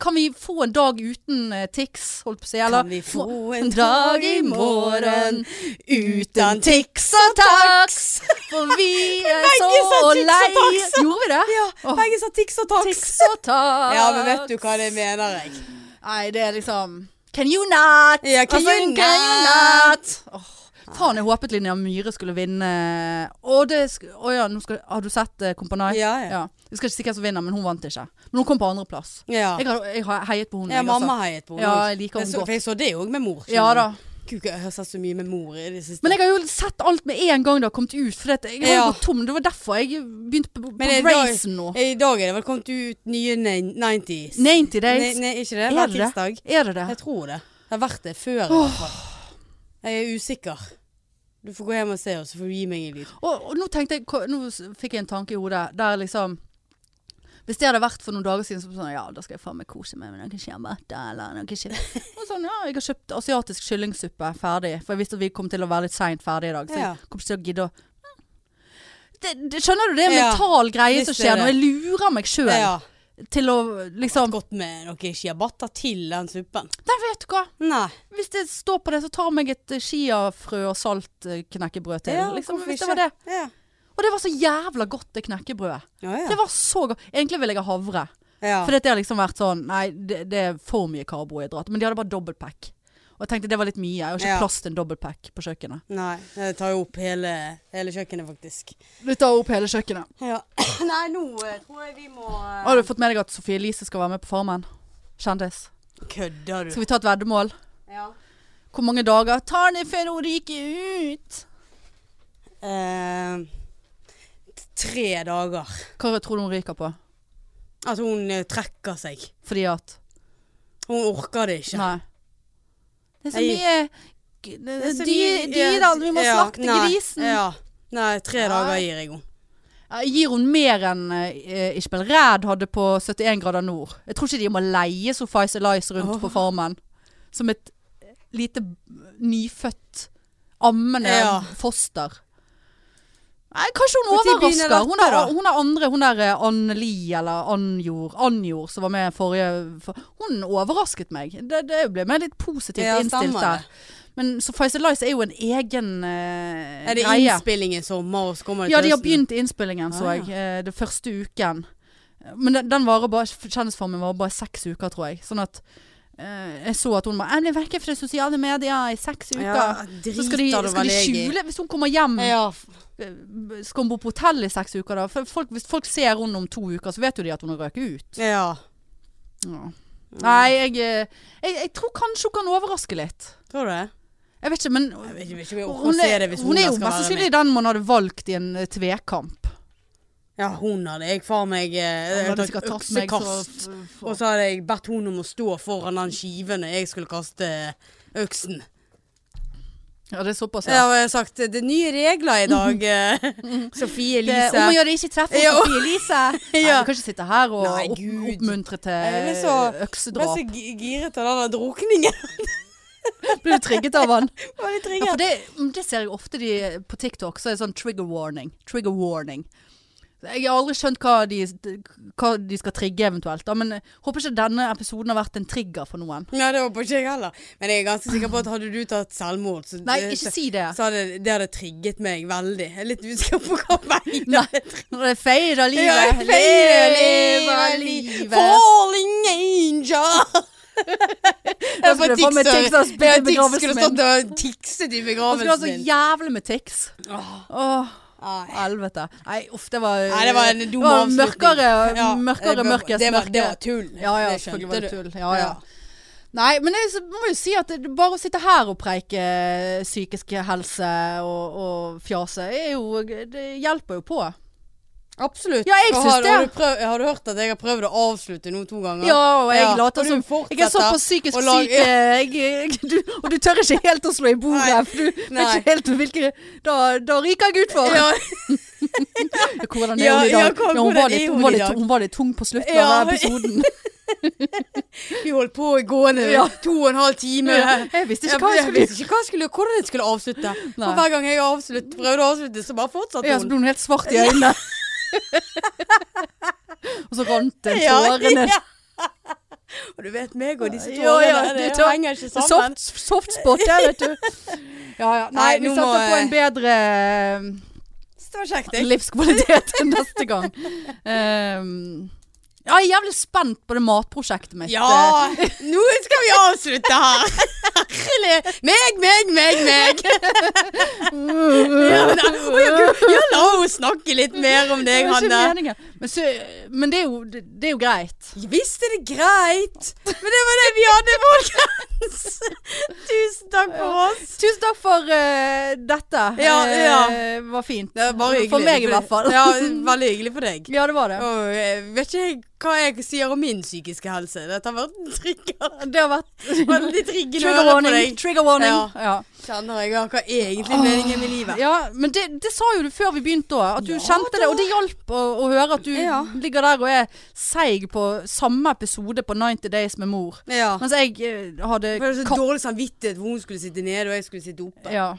[SPEAKER 1] kan vi få en dag uten eh, tics, holdt på å si? Eller
[SPEAKER 2] Kan vi få
[SPEAKER 1] må-
[SPEAKER 2] en dag i morgen uten tics og
[SPEAKER 1] taks?
[SPEAKER 2] taks?
[SPEAKER 1] For vi er
[SPEAKER 2] Begge sa
[SPEAKER 1] så
[SPEAKER 2] tics og
[SPEAKER 1] lei
[SPEAKER 2] taks.
[SPEAKER 1] Gjorde vi det?
[SPEAKER 2] Ja,
[SPEAKER 1] Åh.
[SPEAKER 2] begge sa tics og taks.
[SPEAKER 1] Tics og taks.
[SPEAKER 2] Ja, men vet du hva det mener jeg.
[SPEAKER 1] Nei, det er liksom Can you not? Altså,
[SPEAKER 2] Ja, can you
[SPEAKER 1] not? Åh, faen, jeg håpet Linnea Myhre skulle vinne. Å, det sk å ja, nå skal, har du sett uh, Kompani?
[SPEAKER 2] Ja, ja.
[SPEAKER 1] Jeg skal ikke si hvem som vinner, men hun vant ikke. Men hun kom på andreplass.
[SPEAKER 2] Ja.
[SPEAKER 1] Jeg, har- jeg har heiet på henne.
[SPEAKER 2] Ja,
[SPEAKER 1] jeg,
[SPEAKER 2] mamma
[SPEAKER 1] altså.
[SPEAKER 2] heiet på henne.
[SPEAKER 1] Ja,
[SPEAKER 2] også.
[SPEAKER 1] jeg liker
[SPEAKER 2] Men
[SPEAKER 1] henne
[SPEAKER 2] så-
[SPEAKER 1] godt.
[SPEAKER 2] For jeg så det òg med mor. skjønner
[SPEAKER 1] Ja
[SPEAKER 2] du.
[SPEAKER 1] da.
[SPEAKER 2] Gud, jeg har sett så mye med mor i det siste.
[SPEAKER 1] Men jeg har jo sett alt med en gang det har kommet ut. For det, jeg har jo
[SPEAKER 2] Ja.
[SPEAKER 1] gått tom. Det var derfor jeg begynte på,
[SPEAKER 2] Men
[SPEAKER 1] på
[SPEAKER 2] i dag-
[SPEAKER 1] Racen nå.
[SPEAKER 2] I dag er det vel kommet ut nye nei- 90s.
[SPEAKER 1] 90 days.
[SPEAKER 2] Nei, nei, ikke det?
[SPEAKER 1] Er
[SPEAKER 2] Hver
[SPEAKER 1] det det?
[SPEAKER 2] tirsdag.
[SPEAKER 1] Er det det?
[SPEAKER 2] Jeg tror det. Det har vært det før. i hvert fall. Jeg er usikker. Du får gå hjem og se, og så får du gi meg en lyd.
[SPEAKER 1] Og, og nå tenkte jeg, ko- nå s- fikk jeg en tanke i hodet der liksom Hvis det hadde vært for noen dager siden, så var det sånn Ja, da skal jeg faen meg kose meg med noen shiamata eller noe shit. Og sånn, ja, jeg har kjøpt asiatisk kyllingsuppe ferdig, for jeg visste at vi kom til å være litt seint ferdig i dag. Så
[SPEAKER 2] Ja.
[SPEAKER 1] jeg kom ikke til å gidde å det, det, Skjønner du? Det er en
[SPEAKER 2] Ja,
[SPEAKER 1] mental greie
[SPEAKER 2] visst
[SPEAKER 1] som
[SPEAKER 2] er
[SPEAKER 1] skjer når jeg lurer meg sjøl.
[SPEAKER 2] Ja.
[SPEAKER 1] til å liksom
[SPEAKER 2] Godt med noe ciabatta til den suppen.
[SPEAKER 1] Nei, vet du hva.
[SPEAKER 2] Nei.
[SPEAKER 1] Hvis det står på det, så tar jeg meg et eh, chiafrø og saltknekkebrød til. eh, liksom, hvis det var det.
[SPEAKER 2] Ja.
[SPEAKER 1] Og det var så jævla godt, det knekkebrødet.
[SPEAKER 2] Ja, ja.
[SPEAKER 1] Det var så godt. Egentlig ville jeg ha havre.
[SPEAKER 2] ja.
[SPEAKER 1] For dette har liksom vært sånn Nei, det, det er for mye karbohydrat. Men de hadde bare dobbeltpack. Og jeg tenkte det var litt mye. Jeg har ikke
[SPEAKER 2] Ja.
[SPEAKER 1] plass til en dobbeltpack på kjøkkenet.
[SPEAKER 2] Nei, det tar jo opp hele, hele kjøkkenet, faktisk.
[SPEAKER 1] Du tar opp hele kjøkkenet.
[SPEAKER 2] Ja. Nei, nå eh, tror jeg vi må eh,
[SPEAKER 1] Har du fått med deg at Sofie Elise skal være med på Farmen? Kjendis.
[SPEAKER 2] Kødder du?
[SPEAKER 1] Skal vi ta et veddemål?
[SPEAKER 2] Ja.
[SPEAKER 1] Hvor mange dager tar det før hun ryker ut?
[SPEAKER 2] Eh, tre dager.
[SPEAKER 1] Hva tror du hun ryker på?
[SPEAKER 2] At hun eh, trekker seg.
[SPEAKER 1] Fordi at
[SPEAKER 2] Hun orker det ikke.
[SPEAKER 1] Nei. Det er så
[SPEAKER 2] Jeg-
[SPEAKER 1] mye g- det er dyr- Dyrene, vi må
[SPEAKER 2] Ja,
[SPEAKER 1] slakte
[SPEAKER 2] nei,
[SPEAKER 1] grisen.
[SPEAKER 2] Ja. Nei, tre
[SPEAKER 1] Nei.
[SPEAKER 2] dager gir jeg henne.
[SPEAKER 1] Ja, Gir hun mer enn uh, Ishbel Ræd hadde på 71 grader nord? Jeg tror ikke de må leie Sophies Elice rundt på farmen. Som et eh, lite eh, nyfødt, ammende
[SPEAKER 2] Ja.
[SPEAKER 1] foster. Nei, kanskje hun
[SPEAKER 2] Når tid begynner
[SPEAKER 1] overrasker. Hun
[SPEAKER 2] dette,
[SPEAKER 1] er,
[SPEAKER 2] da?
[SPEAKER 1] hun er andre, hun er eh, Anne Li eller Annjord, Annjord som var med forrige for, Hun overrasket meg. Det, det ble meg litt positivt
[SPEAKER 2] Ja,
[SPEAKER 1] innstilt
[SPEAKER 2] stemmer
[SPEAKER 1] der.
[SPEAKER 2] det.
[SPEAKER 1] Men Sophies Elice er jo en egen eh,
[SPEAKER 2] Er det
[SPEAKER 1] greie.
[SPEAKER 2] innspilling i sommer, og så kommer det
[SPEAKER 1] Ja, de har
[SPEAKER 2] høsten?
[SPEAKER 1] begynt innspillingen, så
[SPEAKER 2] Ah,
[SPEAKER 1] jeg. eh, Det første uken. Men den, den varer bare, kjendisformen varer bare seks uker, tror jeg. Sånn at eh, jeg så at hun bare 'Jeg ble vekke fra sosiale medier i seks uker'.
[SPEAKER 2] Ja,
[SPEAKER 1] så skal de,
[SPEAKER 2] driter du
[SPEAKER 1] skal
[SPEAKER 2] vel
[SPEAKER 1] de
[SPEAKER 2] jeg i.
[SPEAKER 1] skjule Hvis hun kommer hjem,
[SPEAKER 2] Ja,
[SPEAKER 1] eh, skal hun bo på hotell i seks uker da? For folk, hvis folk ser henne om to uker, så vet jo de at hun har røket ut.
[SPEAKER 2] ja.
[SPEAKER 1] Ja.
[SPEAKER 2] Mm.
[SPEAKER 1] Nei, jeg, eh, jeg, jeg tror kanskje hun kan overraske litt.
[SPEAKER 2] Tror du det?
[SPEAKER 1] Jeg vet ikke, men
[SPEAKER 2] Jeg
[SPEAKER 1] hun
[SPEAKER 2] vet ikke, jeg vet ikke om jeg orker å se
[SPEAKER 1] er,
[SPEAKER 2] det hvis
[SPEAKER 1] hun er
[SPEAKER 2] Mona
[SPEAKER 1] jo
[SPEAKER 2] skal
[SPEAKER 1] mest
[SPEAKER 2] være
[SPEAKER 1] sannsynlig den man hadde valgt i en eh, tvekamp.
[SPEAKER 2] Ja, hun hadde jeg faen meg eh, Jeg
[SPEAKER 1] Om
[SPEAKER 2] hadde
[SPEAKER 1] de skal
[SPEAKER 2] tatt
[SPEAKER 1] tatt meg,
[SPEAKER 2] øksekast.
[SPEAKER 1] så- f-
[SPEAKER 2] Og så hadde jeg bedt hun om å stå foran den skiven når jeg skulle kaste øksen.
[SPEAKER 1] Ja, det er såpass,
[SPEAKER 2] Ja, og jeg har sagt det er nye regler i dag. eh, Sofie
[SPEAKER 1] Det, om å
[SPEAKER 2] Elise.
[SPEAKER 1] gjøre det ikke treffer
[SPEAKER 2] Ja.
[SPEAKER 1] Sofie Elise. Nei,
[SPEAKER 2] Ja.
[SPEAKER 1] du kan ikke sitte her og
[SPEAKER 2] Nei,
[SPEAKER 1] opp,
[SPEAKER 2] Gud.
[SPEAKER 1] oppmuntre
[SPEAKER 2] Jeg ble
[SPEAKER 1] til
[SPEAKER 2] så- Jeg ble
[SPEAKER 1] øksedrap.
[SPEAKER 2] så gi- giret av den der drukningen.
[SPEAKER 1] Blir du trigget av han?
[SPEAKER 2] Jeg var
[SPEAKER 1] Ja,
[SPEAKER 2] litt
[SPEAKER 1] for
[SPEAKER 2] trigget.
[SPEAKER 1] det, mm, det ser jeg ofte de, på TikTok, så er det sånn trigger warning. Trigger warning. Jeg har aldri skjønt hva de, hva de skal trigge eventuelt, da, men jeg håper ikke denne episoden har vært en trigger for noen.
[SPEAKER 2] Nei, det håper ikke jeg heller. Men jeg er ganske sikker på at hadde du tatt selvmord, så,
[SPEAKER 1] Nei, ikke si det.
[SPEAKER 2] så hadde det hadde trigget meg veldig. Jeg er litt usikker på hva vei
[SPEAKER 1] Nei.
[SPEAKER 2] det
[SPEAKER 1] Det feirer
[SPEAKER 2] Ja,
[SPEAKER 1] livet.
[SPEAKER 2] feire
[SPEAKER 1] Lever
[SPEAKER 2] livet.
[SPEAKER 1] livet.
[SPEAKER 2] Falling angel!
[SPEAKER 1] Jeg skulle få meg Tix og spille i begravelsen
[SPEAKER 2] Skulle
[SPEAKER 1] min.
[SPEAKER 2] stått og tikset i
[SPEAKER 1] Han skulle ha
[SPEAKER 2] begravelsen
[SPEAKER 1] så
[SPEAKER 2] min. Ah,
[SPEAKER 1] jævlig med tics.
[SPEAKER 2] Åh,
[SPEAKER 1] Åh.
[SPEAKER 2] Nei,
[SPEAKER 1] Helvete. Nei, uff, det var
[SPEAKER 2] Nei, det var en dum
[SPEAKER 1] det var
[SPEAKER 2] avslutning.
[SPEAKER 1] Mørkere,
[SPEAKER 2] Ja,
[SPEAKER 1] mørkere,
[SPEAKER 2] det var-
[SPEAKER 1] mørkest
[SPEAKER 2] det var-
[SPEAKER 1] mørke.
[SPEAKER 2] Det var tull.
[SPEAKER 1] Ja, ja,
[SPEAKER 2] Det
[SPEAKER 1] selvfølgelig
[SPEAKER 2] skjønte
[SPEAKER 1] var det
[SPEAKER 2] du.
[SPEAKER 1] tull. Ja, ja. Nei, men jeg s- må jo si at det, bare å sitte her og preike psykisk helse og, og fjase, er jo, det hjelper jo på.
[SPEAKER 2] Absolutt.
[SPEAKER 1] Ja, jeg
[SPEAKER 2] Og
[SPEAKER 1] syns
[SPEAKER 2] har,
[SPEAKER 1] det.
[SPEAKER 2] Har du, prøv, har du hørt at jeg har prøvd å avslutte nå to ganger?
[SPEAKER 1] Ja, og jeg
[SPEAKER 2] Ja,
[SPEAKER 1] later
[SPEAKER 2] og du
[SPEAKER 1] som Jeg er
[SPEAKER 2] fortsetter
[SPEAKER 1] såpass psykisk
[SPEAKER 2] å lage-
[SPEAKER 1] syk, eh, jeg, jeg, du, og du tør ikke helt å slå i bordet.
[SPEAKER 2] Nei.
[SPEAKER 1] for Du vet
[SPEAKER 2] Nei.
[SPEAKER 1] ikke helt hvilke Da, da ryker jeg utfor.
[SPEAKER 2] Ja,
[SPEAKER 1] Hvordan er
[SPEAKER 2] Ja,
[SPEAKER 1] hun i
[SPEAKER 2] ja,
[SPEAKER 1] dag? Ja,
[SPEAKER 2] hva-
[SPEAKER 1] hun,
[SPEAKER 2] hvordan
[SPEAKER 1] var
[SPEAKER 2] er
[SPEAKER 1] litt,
[SPEAKER 2] hun
[SPEAKER 1] hun, var
[SPEAKER 2] i
[SPEAKER 1] litt,
[SPEAKER 2] dag?
[SPEAKER 1] hun var litt tung på slutten
[SPEAKER 2] Ja.
[SPEAKER 1] av episoden.
[SPEAKER 2] vi holdt på i gående
[SPEAKER 1] Ja.
[SPEAKER 2] to og en halv time.
[SPEAKER 1] eh, Jeg visste ikke hva jeg skulle
[SPEAKER 2] visste ikke hva jeg skulle, hvordan jeg skulle avslutte.
[SPEAKER 1] Nei.
[SPEAKER 2] Og hver gang jeg avslutt, prøvde å avslutte, så bare fortsatte
[SPEAKER 1] Ja, så
[SPEAKER 2] hun.
[SPEAKER 1] ble hun helt svart i øynene. og så rant en
[SPEAKER 2] Ja,
[SPEAKER 1] tåre ned.
[SPEAKER 2] ja. Og du vet meg og disse
[SPEAKER 1] Ja,
[SPEAKER 2] tårene,
[SPEAKER 1] ja,
[SPEAKER 2] det,
[SPEAKER 1] det tar-
[SPEAKER 2] henger ikke sammen.
[SPEAKER 1] Soft, soft spot der, vet du. Ja, ja. Nei,
[SPEAKER 2] Nei,
[SPEAKER 1] vi eh,
[SPEAKER 2] nå
[SPEAKER 1] satser
[SPEAKER 2] må,
[SPEAKER 1] på en bedre
[SPEAKER 2] Så det var kjekt,
[SPEAKER 1] eh,
[SPEAKER 2] jeg.
[SPEAKER 1] livskvalitet til neste gang. Ehm, ja, jeg er jævlig spent på det matprosjektet mitt. eh.
[SPEAKER 2] Ja, nå skal vi avslutte her. Herlig. Meg, meg, meg, meg. Ja, da- Å, ja, gud, ja, la henne snakke litt mer om
[SPEAKER 1] Det
[SPEAKER 2] deg,
[SPEAKER 1] var ikke
[SPEAKER 2] Hanne.
[SPEAKER 1] meningen. Men, så, men det, er jo, det, det er jo greit.
[SPEAKER 2] Visst er det greit, men det var det vi hadde, folkens. Tusen takk for oss.
[SPEAKER 1] Tusen takk for eh, dette.
[SPEAKER 2] Ja,
[SPEAKER 1] Eh,
[SPEAKER 2] ja.
[SPEAKER 1] Det var fint.
[SPEAKER 2] Det var bare hyggelig.
[SPEAKER 1] For meg i hvert fall.
[SPEAKER 2] Ja, veldig hyggelig for deg.
[SPEAKER 1] Ja, det var det.
[SPEAKER 2] Og jeg vet ikke hva jeg sier om min psykiske helse. Dette har vært en trigger.
[SPEAKER 1] Det har vært
[SPEAKER 2] Veldig triggende å
[SPEAKER 1] Trigger
[SPEAKER 2] høre på
[SPEAKER 1] warning.
[SPEAKER 2] deg.
[SPEAKER 1] Trigger warning.
[SPEAKER 2] Ja.
[SPEAKER 1] Ja.
[SPEAKER 2] Kjenner jeg hva egentlig meningen med livet.
[SPEAKER 1] Ja, men det, det sa jo du før vi begynte òg, at du
[SPEAKER 2] Ja,
[SPEAKER 1] kjente det. Og det hjalp å, å høre at du
[SPEAKER 2] Ja.
[SPEAKER 1] ligger der og er seig på samme episode på 90 Days med mor.
[SPEAKER 2] Ja.
[SPEAKER 1] Mens jeg eh, hadde
[SPEAKER 2] For det er så
[SPEAKER 1] kapp-
[SPEAKER 2] dårlig samvittighet hvor hun skulle sitte nede og jeg skulle sitte oppe.
[SPEAKER 1] Ja.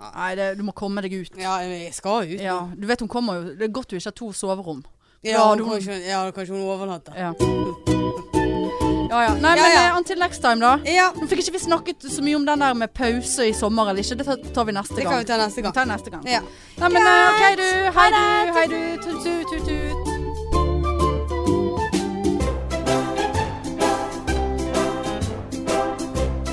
[SPEAKER 1] Nei, det, du må komme deg ut.
[SPEAKER 2] Ja, men jeg skal ut.
[SPEAKER 1] Ja, du vet hun kommer jo Det er godt du ikke har to soverom.
[SPEAKER 2] Ja,
[SPEAKER 1] Ja,
[SPEAKER 2] hun
[SPEAKER 1] du-
[SPEAKER 2] kan ikke, ja, kanskje hun overnatter.
[SPEAKER 1] Ja. Ja, ja. Nei,
[SPEAKER 2] Ja,
[SPEAKER 1] men
[SPEAKER 2] ja.
[SPEAKER 1] eh, until next time, da.
[SPEAKER 2] Ja,
[SPEAKER 1] Nå fikk ikke vi snakket så mye om den der med pause i sommer eller ikke. Det tar- tar vi neste
[SPEAKER 2] det
[SPEAKER 1] gang.
[SPEAKER 2] kan vi ta neste gang.
[SPEAKER 1] Ta neste gang.
[SPEAKER 2] Ja.
[SPEAKER 1] Nei, men eh, OK,
[SPEAKER 2] Greit.
[SPEAKER 1] du. Hei, du. Hei, du. Tut-tut. Tut-tut. Fallen angel.